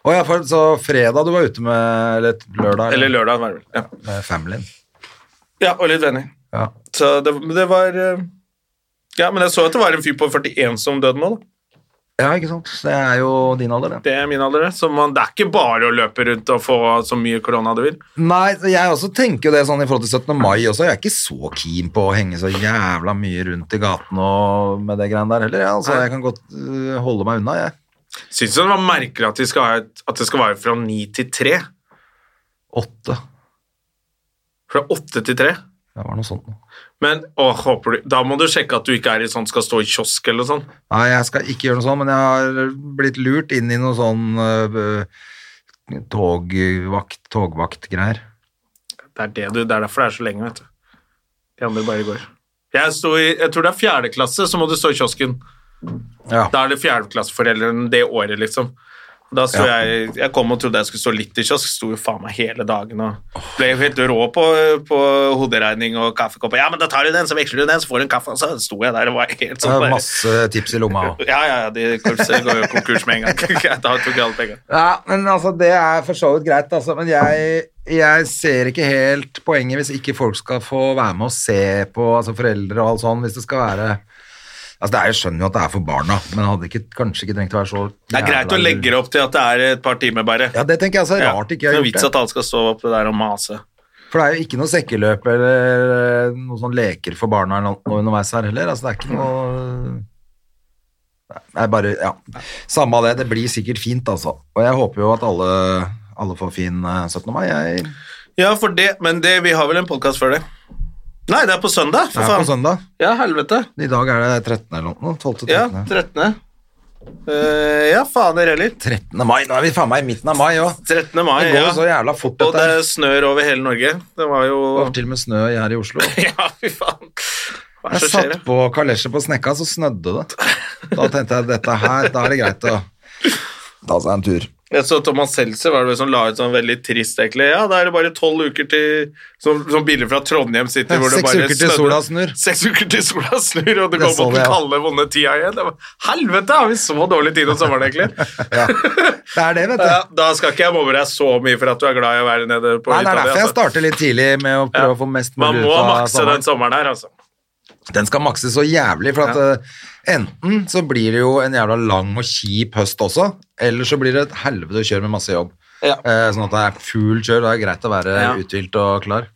S1: Å ja, for, så fredag du var ute med, eller lørdag,
S2: Eller lørdag, var det vel. Ja.
S1: med familien.
S2: ja, og litt venner.
S1: Ja.
S2: Så det, men det var eh, Ja, men jeg så at det var en fyr på 41 som døde nå, da.
S1: ja, ikke sant. Det er jo din alder, det.
S2: Det er min alder, det. Så man, det er ikke bare å løpe rundt og få så mye korona du vil.
S1: Nei, jeg også tenker jo det sånn i forhold til 17. mai også. Jeg er ikke så keen på å henge så jævla mye rundt i gatene og med det greiene der heller. Ja. Altså, jeg kan godt øh, holde meg unna, jeg.
S2: Syns du det var merkelig at, vi skal ha et, at det skal være fra ni til tre?
S1: Åtte.
S2: Fra åtte til tre?
S1: Det var noe sånt nå.
S2: Men å, håper du, da må du sjekke at du ikke er i sånn skal stå i kiosk eller sånn.
S1: Nei, jeg skal ikke gjøre noe sånt, men jeg har blitt lurt inn i noe sånn øh, togvakt, togvaktgreier.
S2: Det er, det, du, det er derfor det er så lenge, vet du. De andre bare går. Jeg, sto i, jeg tror det er fjerde klasse, så må du stå i kiosken.
S1: Ja.
S2: Da er det fjerdeklasseforeldrene det året, liksom. Da sto
S1: Ja.
S2: jeg, jeg kom og trodde jeg skulle stå litt i kiosk, sto jo faen meg hele dagen og ble jo helt rå på, på hoderegning og kaffekopper. Ja, men da tar du den, så veksler du den, så får du en kaffe. Og så sto jeg der og var helt
S1: Det
S2: sånn
S1: er
S2: bare,
S1: masse tips i lomma òg.
S2: Ja, ja, ja, de korpset går jo konkurs med en gang. Jeg tar- tok alle pengene.
S1: Ja, men altså, det er for så vidt greit, altså. Men jeg, jeg ser ikke helt poenget hvis ikke folk skal få være med og se på, altså foreldre og alt sånn, hvis det skal være Altså, det er, jeg skjønner jo at det er for barna, men hadde ikke, kanskje ikke trengt å være så
S2: Det er greit å legge det opp til at det er et par timer, bare.
S1: Ja, det tenker jeg altså. Rart ikke jeg
S2: Det
S1: har
S2: er vits
S1: gjort
S2: at
S1: det.
S2: alle skal stå oppe der og mase.
S1: For det er jo ikke noe sekkeløp eller eh, noe sånn leker for barna eller noe underveis her heller. Altså, det er ikke noe Nei, bare Ja. Samme av det. Det blir sikkert fint, altså. Og jeg håper jo at alle, alle får fin eh, 17. mai. Jeg
S2: Ja, for det, men det, vi har vel en podkast før det. Nei, det er på søndag, for
S1: er på
S2: faen.
S1: søndag.
S2: Ja, helvete.
S1: I dag er det 13. eller noe. 12. 13.
S2: Ja, 13. Eh, ja, fader heller.
S1: 13. mai. Nå er vi faen meg i midten av mai òg.
S2: 13. mai,
S1: Det går jo så
S2: ja.
S1: jævla fort,
S2: Og
S1: dette.
S2: det
S1: her.
S2: snør over hele Norge. Det var jo
S1: Det var til og med snø her i Oslo.
S2: Ja, fy faen. Hva er det
S1: Jeg
S2: som skjer?
S1: satt på kalesjer på snekka, så snødde det. Da tenkte jeg dette her, da er det greit å ta seg en tur.
S2: Jeg så Thomas Seltzer var det vel som la ut sånn veldig trist, egentlig. Ja, da er det bare tolv uker til Sånn sånn bilder fra Trondheim City
S1: Ja,
S2: hvor det
S1: seks
S2: bare
S1: uker til
S2: snødde.
S1: sola snur.
S2: Seks uker til sola snur, og det går
S1: Jeg så
S2: mot
S1: det,
S2: den
S1: ja.
S2: kalde, vonde tida igjen. Det var, Helvete, har vi så dårlig tid om sommeren, egentlig?
S1: Ja. Det er det, vet du.
S2: Ja, da skal ikke jeg mobbe deg så mye for at du er glad i å være nede på
S1: Nei, det er
S2: hytta di,
S1: derfor jeg
S2: altså.
S1: starter litt tidlig med å prøve å få mest
S2: Man
S1: mulig
S2: må
S1: ut av
S2: makse den
S1: sommeren.
S2: sommeren her, altså.
S1: Den skal makses så jævlig, for at
S2: Ja.
S1: eh, enten så blir det jo en jævla lang og kjip høst også, eller så blir det et helvete å kjøre med masse jobb.
S2: Ja.
S1: Eh, sånn at det er full kjør, det er greit å være
S2: Ja.
S1: uthvilt og klar.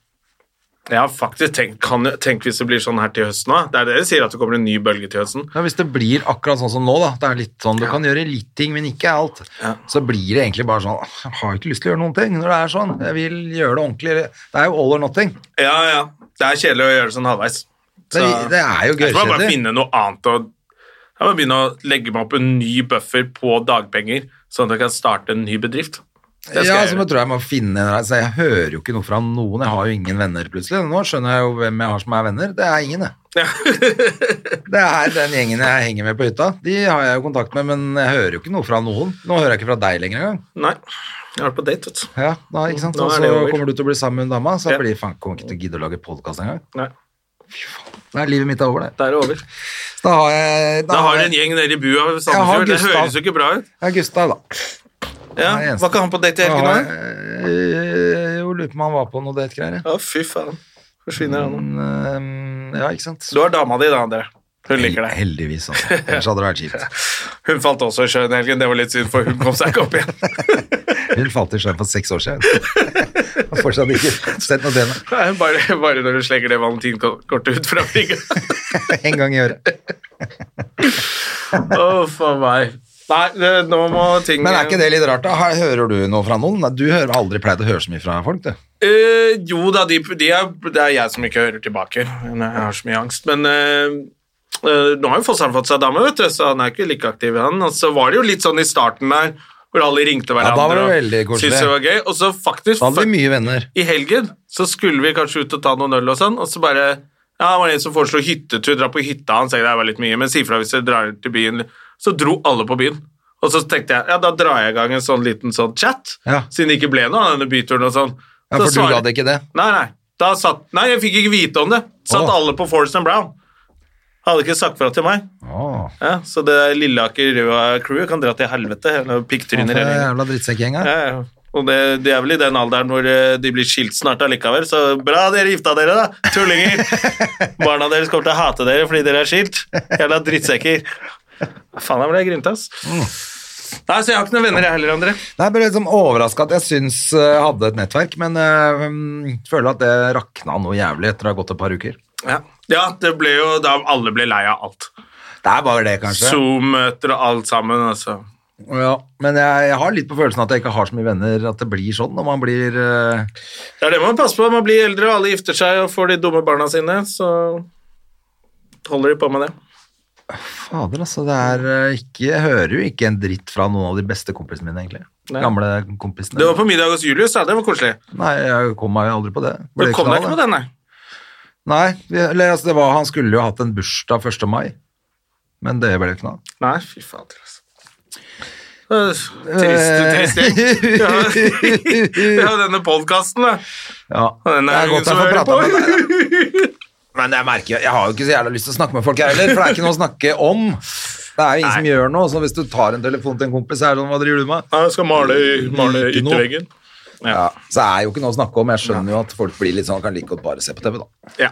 S2: Jeg har faktisk tenkt kan, jo- Tenk hvis det blir sånn her til høsten òg. Det er det dere sier, at det kommer en ny bølge til høsten.
S1: Ja, hvis det blir akkurat sånn som nå, da, det er litt sånn, du kan gjøre litt ting, men ikke alt,
S2: Ja.
S1: så blir det egentlig bare sånn, «Åh, jeg har ikke lyst til å gjøre noen ting når det er sånn, jeg vil gjøre det ordentlig. Det er jo all or nothing.
S2: Ja, ja. Det er kjedelig å gjøre det sånn halvveis.
S1: Det,
S2: Så-
S1: det er jo
S2: Jeg tror jeg bare
S1: gørkjedelig.
S2: finne noe annet å Jeg må begynne å legge meg opp en ny buffer på dagpenger, sånn at jeg kan starte en ny bedrift. Det skal
S1: Ja,
S2: jeg
S1: så
S2: gjøre.
S1: må tror jeg må finne altså, Jeg hører jo ikke noe fra noen. Jeg har jo ingen venner plutselig. Nå skjønner jeg jo hvem jeg har som er venner. Det er ingen, jeg. det er den gjengen jeg henger med på hytta. De har jeg jo kontakt med, men jeg hører jo ikke noe fra noen. Nå hører jeg ikke fra deg lenger engang.
S2: Nei. Jeg har vært på date, vet du.
S1: Ja, da, ikke sant?
S2: Nå
S1: Og
S2: er
S1: så
S2: det over.
S1: kommer du til å bli sammen med en dame, så
S2: Ja.
S1: blir faen kommer jeg ikke til å gidde å lage podkast engang.
S2: Nei,
S1: Nei, livet mitt er over, det.
S2: det er over.
S1: Da har jeg
S2: Da har du en
S1: jeg,
S2: gjeng nede i bua ved
S1: Jeg har
S2: Sandefjord. Det
S1: Gustav.
S2: høres jo ikke bra ut.
S1: ja, Gustav, da.
S2: Ja,
S1: Det er eneste.
S2: Var ikke han på date i
S1: da
S2: helgen
S1: har
S2: òg?
S1: jeg, øh, jo, lurer på om han var på noe date-greier. jeg.
S2: Å, fy faen. Forsvinner han nå.
S1: Men, øh, Ja, ikke sant.
S2: Du har dama di, da, André. Hun liker deg.
S1: Heldigvis, altså. Ellers hadde det vært kjipt.
S2: Hun falt også i sjøen i helgen. Det var litt synd, for hun kom seg ikke opp igjen.
S1: Hun falt i sjøen for seks år siden. Har fortsatt ikke sett noe til henne.
S2: Nei, Bare, bare når hun slenger det valentinkortet ut fra brygga.
S1: En gang i året.
S2: Å, for meg. Nei, det- nå må ting
S1: Men er ikke det litt rart, da? Her hører du noe fra noen? Nei, Du hører har aldri pleid å høre så mye fra folk, du.
S2: Eh, jo da, de, de er, det er jeg som ikke hører tilbake. Jeg har så mye angst. Men eh, eh, nå har jo Fossheim fått seg dame, vet du, så han er ikke like aktiv. han. Og så var det jo litt sånn i starten der, hvor alle ringte
S1: Ja, da var
S2: hverandre
S1: det veldig
S2: og
S1: koselig.
S2: syntes det var gøy. Og så faktisk,
S1: Da hadde vi mye venner.
S2: i helgen, så skulle vi kanskje ut og ta noen øl og sånn, og så bare Ja, det var en som foreslo hyttetur, dra på hytta, han sa det var litt mye, men si fra hvis dere drar til byen. Så dro alle på byen. Og så tenkte jeg ja, da drar jeg i gang en sånn liten sånn chat,
S1: Ja.
S2: siden det ikke ble noe av denne byturen og sånn.
S1: Ja,
S2: Så
S1: for du
S2: svarer-
S1: gadd ikke det.
S2: Nei, nei. Da satt, nei, jeg fikk ikke vite om det. Satt
S1: Åh.
S2: alle på Forest and Brown. Hadde ikke sagt fra til meg.
S1: Åh,
S2: Ja, så det Lilleaker Røa-crewet kan dra til helvete. Eller
S1: faen,
S2: pikktryner
S1: for en
S2: hele gjengen.
S1: jævla drittsekkgjeng her.
S2: Ja, ja. Og det, de er vel i den alderen hvor eh, de blir skilt snart allikevel, så bra dere gifta dere, da! Tullinger! Barna deres kommer til å hate dere fordi dere er skilt. Jævla drittsekker. Faen, jeg ble grinte, ass. Nei, så jeg har ikke noen venner, jeg heller, André.
S1: Nei, jeg ble liksom overraska at jeg syns eh, jeg hadde et nettverk, men eh, mm, føler at det rakna noe jævlig etter å ha gått et par uker.
S2: Ja, ja det ble jo da alle ble lei av alt.
S1: Det er bare det, kanskje.
S2: Zoom-møter og alt sammen. Altså.
S1: Ja, men jeg, jeg har litt på følelsen at jeg ikke har så mye venner, at det blir sånn når man blir eh,
S2: Det er det man passer på. Man blir eldre, og alle gifter seg og får de dumme barna sine. Så holder de på med det.
S1: Fader, altså. Det er eh, ikke, jeg hører jo ikke en dritt fra noen av de beste kompisene mine, egentlig.
S2: Nei.
S1: Gamle kompisene.
S2: Det var på middag hos Julius, da. Det var koselig.
S1: Nei, jeg kom meg aldri på det.
S2: Du kom deg
S1: knall,
S2: ikke på
S1: det.
S2: den, nei.
S1: Nei, vi- eller, altså, det var, han skulle jo hatt en bursdag 1. mai, men det ble jo knall.
S2: Nei, fy fader, altså. Øh,
S1: Eh.
S2: Trist, trist gjeng. Ja. Vi har jo denne podkasten, da.
S1: Ja,
S2: Den
S1: det
S2: er
S1: er
S2: ingen
S1: godt
S2: som
S1: jeg får
S2: hører
S1: prata med deg.
S2: på.
S1: Men jeg merker, jo- jeg har jo ikke så jævla lyst til å snakke med folk heller, for det er ikke noe å snakke om. Det er jo ingen som gjør noe, så hvis du tar en telefon til en kompis, så er det sånn, hva driver du med?
S2: Nei, jeg skal male, male
S1: Ikke noe.
S2: ytterveggen.
S1: Ja, så er jo ikke noe å snakke om. Jeg skjønner jo at folk blir litt sånn, kan like godt bare se på TV, da.
S2: Ja.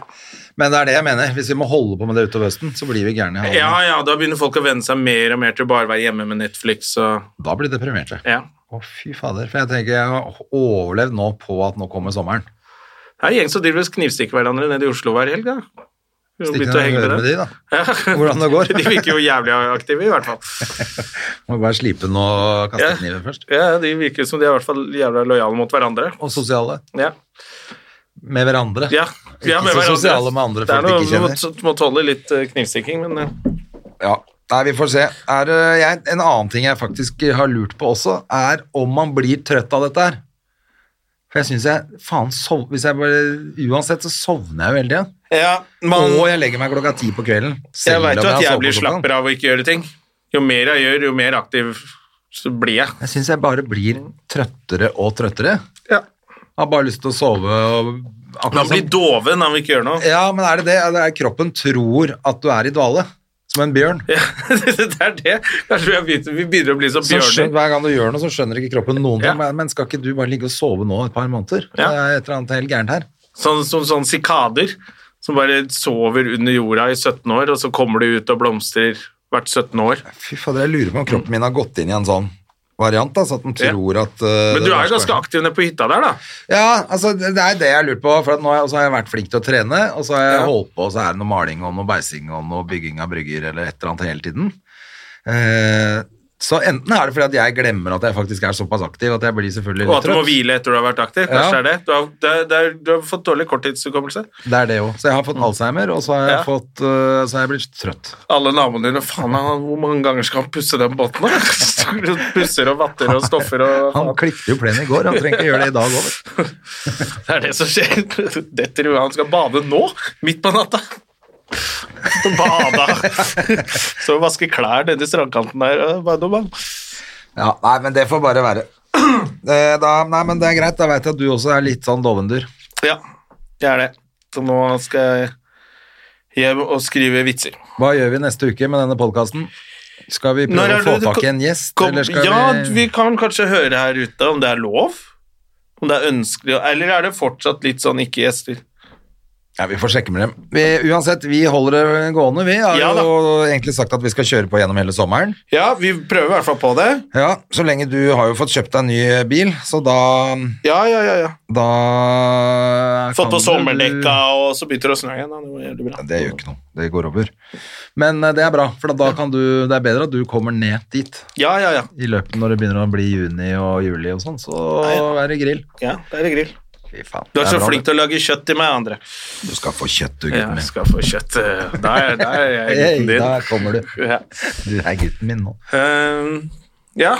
S1: Men det er det jeg mener. Hvis vi må holde på med det utover høsten, så blir vi gærne i
S2: ja
S1: halsen.
S2: ja, da begynner folk å venne seg mer og mer til å bare være hjemme med Netflix og
S1: Da blir vi deprimerte.
S2: Ja.
S1: Å, fy fader. For jeg tenker jeg har overlevd nå på at nå kommer sommeren.
S2: Det er en gjeng som driver og knivstikker hverandre nede i Oslo hver helg. da. Vi har
S1: Stikk
S2: begynt å
S1: ned
S2: henge
S1: og
S2: med
S1: høre
S2: dem.
S1: med de, da.
S2: Ja.
S1: Hvordan det går.
S2: De virker jo jævlig aktive, i hvert fall.
S1: Må bare slipe den og kaste
S2: Ja.
S1: kniven først.
S2: Ja, De virker som de er i hvert fall jævla lojale mot hverandre.
S1: Og sosiale.
S2: Ja,
S1: Med hverandre.
S2: ja.
S1: Ikke
S2: ja
S1: så sosiale med andre
S2: Det er
S1: folk
S2: noe-
S1: ikke kjenner.
S2: Du må, må tåle litt eh, knivstikking, men eh,
S1: Ja. Nei, vi får se. Er, øh, jeg, en annen ting jeg faktisk har lurt på også, er om man blir trøtt av dette her. For jeg syns jeg Faen, sov, hvis jeg bare Uansett så sovner jeg jo hele tida.
S2: Ja, man,
S1: Og jeg legger meg klokka ti på kvelden.
S2: jeg
S1: selv
S2: veit
S1: om
S2: jo at
S1: har
S2: jeg
S1: sovet
S2: blir
S1: på sofaen.
S2: slappere av å ikke gjøre ting. Jo mer jeg gjør, jo mer aktiv så blir jeg.
S1: Jeg syns jeg bare blir trøttere og trøttere.
S2: Ja.
S1: Har bare lyst til å sove og
S2: Men han
S1: akkurat
S2: blir
S1: som
S2: doven når han ikke gjør noe.
S1: Ja, men er det det? Er det- er kroppen tror at du er i dvale, som en bjørn.
S2: Ja, det er det. Kanskje vi, har begynt, vi begynner å bli som
S1: Så skjøn-
S2: bjørner.
S1: hver gang du gjør noe, så skjønner ikke kroppen noen
S2: Ja.
S1: ting. Men- Men skal ikke du bare ligge og sove nå et par måneder?
S2: Ja.
S1: Det er et eller annet helt gærent her.
S2: Sånn, som sånn sikader som bare sover under jorda i 17 år, og så kommer de ut og blomstrer hvert 17 år.
S1: Fy fader, jeg lurer på om kroppen min har gått inn i en sånn variant, da, så at den tror at eh,
S2: Men
S1: det
S2: du er
S1: verste-
S2: jo ganske aktiv nede på hytta der, da.
S1: Ja, altså det det er det jeg lurer på, for at nå har jeg, og så har jeg vært flink til å trene, og så har jeg
S2: Ja.
S1: holdt på, og så er det noe maling og noe beising og noe bygging av brygger eller et eller annet hele tiden. Eh, så enten er det fordi at jeg glemmer at jeg faktisk er såpass aktiv, at jeg blir selvfølgelig
S2: Og
S1: litt
S2: at du må
S1: trøtt.
S2: hvile etter du har vært aktiv.
S1: Ja.
S2: Kanskje det er det. Du har, det, er- det er, du har fått dårlig korttidshukommelse.
S1: Det er det jo. Så jeg har fått Alzheimer, og så har jeg,
S2: Ja.
S1: fått, eh, så har jeg blitt trøtt.
S2: Alle naboene dine Faen, han, hvor mange ganger skal han pusse den båten? da? Står og Pusser og vatter og stoffer og
S1: Han
S2: faen.
S1: klippte jo plenen i går, han trenger ikke gjøre det i dag over.
S2: Det er det som skjer. Detter jo han skal bade nå, midt på natta. Så bada. Så vaske klær nede i strandkanten der. og bare- bare-
S1: Ja, nei, men det får bare være. Eh, Da, nei, men det er greit, da vet jeg at du også er litt sånn dovendur.
S2: Ja, det er det. Så nå skal jeg hjem og skrive vitser.
S1: Hva gjør vi neste uke med denne podkasten? Skal vi
S2: Når
S1: prøve
S2: er
S1: å få
S2: det du
S1: tak i
S2: kom-
S1: en gjest?
S2: Kom,
S1: eller skal
S2: ja, vi...
S1: vi...
S2: kan kanskje høre her ute om det er lov. Om det er ønskelig, eller er det fortsatt litt sånn ikke-gjester?
S1: ja, vi får sjekke med dem. Vi, uansett, vi holder det gående. Vi har
S2: Ja, da.
S1: jo egentlig sagt at vi skal kjøre på gjennom hele sommeren.
S2: Ja, vi prøver i hvert fall på det.
S1: Ja, Så lenge du har jo fått kjøpt deg en ny bil, så da,
S2: Ja, ja, ja. ja.
S1: da
S2: Fått på
S1: kan du-
S2: sommerdekka, og så begynte det å snø igjen. Da. Det var jævlig bra.
S1: Det gjør ikke noe. Det går over. Men eh, det er bra, for da kan du Det er bedre at du kommer ned dit
S2: Ja, ja, ja.
S1: i løpet når det begynner å bli juni og juli og sånn, så er det grill.
S2: ja det er det grill.
S1: Fy faen.
S2: Du
S1: det
S2: er så
S1: bra,
S2: flink
S1: det.
S2: til å lage kjøtt til meg, Andre.
S1: Du skal få kjøtt, du, gutten
S2: Jeg
S1: min.
S2: skal få kjøtt. eh, Der, der er jeg
S1: Hei,
S2: gutten
S1: der
S2: din.
S1: kommer du.
S2: Ja.
S1: Du er gutten min nå.
S2: Ehm, ja.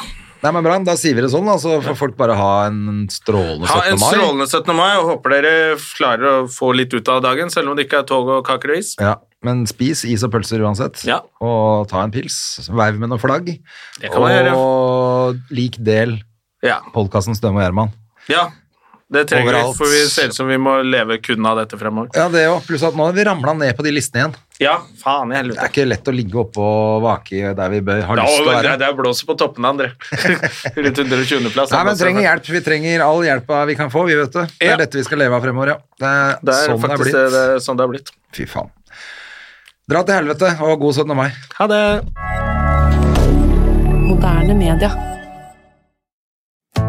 S1: Nei, men bra, da sier vi det sånn, da, så får folk bare ha en strålende 17. mai.
S2: Ha en strålende 17. mai, og håper dere klarer å få litt ut av dagen, selv om det ikke er tog og kaker og is.
S1: Ja, men spis is og pølser uansett,
S2: Ja.
S1: og ta en pils, veiv med noen flagg,
S2: Det kan man gjøre.
S1: og lik del
S2: Ja.
S1: podcasten Støm og Gjermann.
S2: Ja, det trenger
S1: Overalt.
S2: vi, for vi ser ut som vi må leve kun av dette fremover.
S1: Ja, det jo, pluss at nå har vi ramlet ned på de listene igjen.
S2: Ja, faen i
S1: Det er
S2: helvete.
S1: ikke lett å ligge oppe og vake der vi bør, har
S2: Ja,
S1: lyst til å
S2: men det,
S1: være.
S2: det er blåser på toppene, André. Rundt 120. plass. altså.
S1: Nei, men trenger hjelp, vi trenger all hjelpa vi kan få, vi vet det. Det er
S2: Ja.
S1: dette vi skal leve av fremover, ja. Det er,
S2: Det er
S1: sånn det er
S2: faktisk
S1: blitt.
S2: det, det, er sånn det er blitt.
S1: Fy faen. Dra til helvete, og god 17. mai.
S2: Ha det!
S3: Moderne media.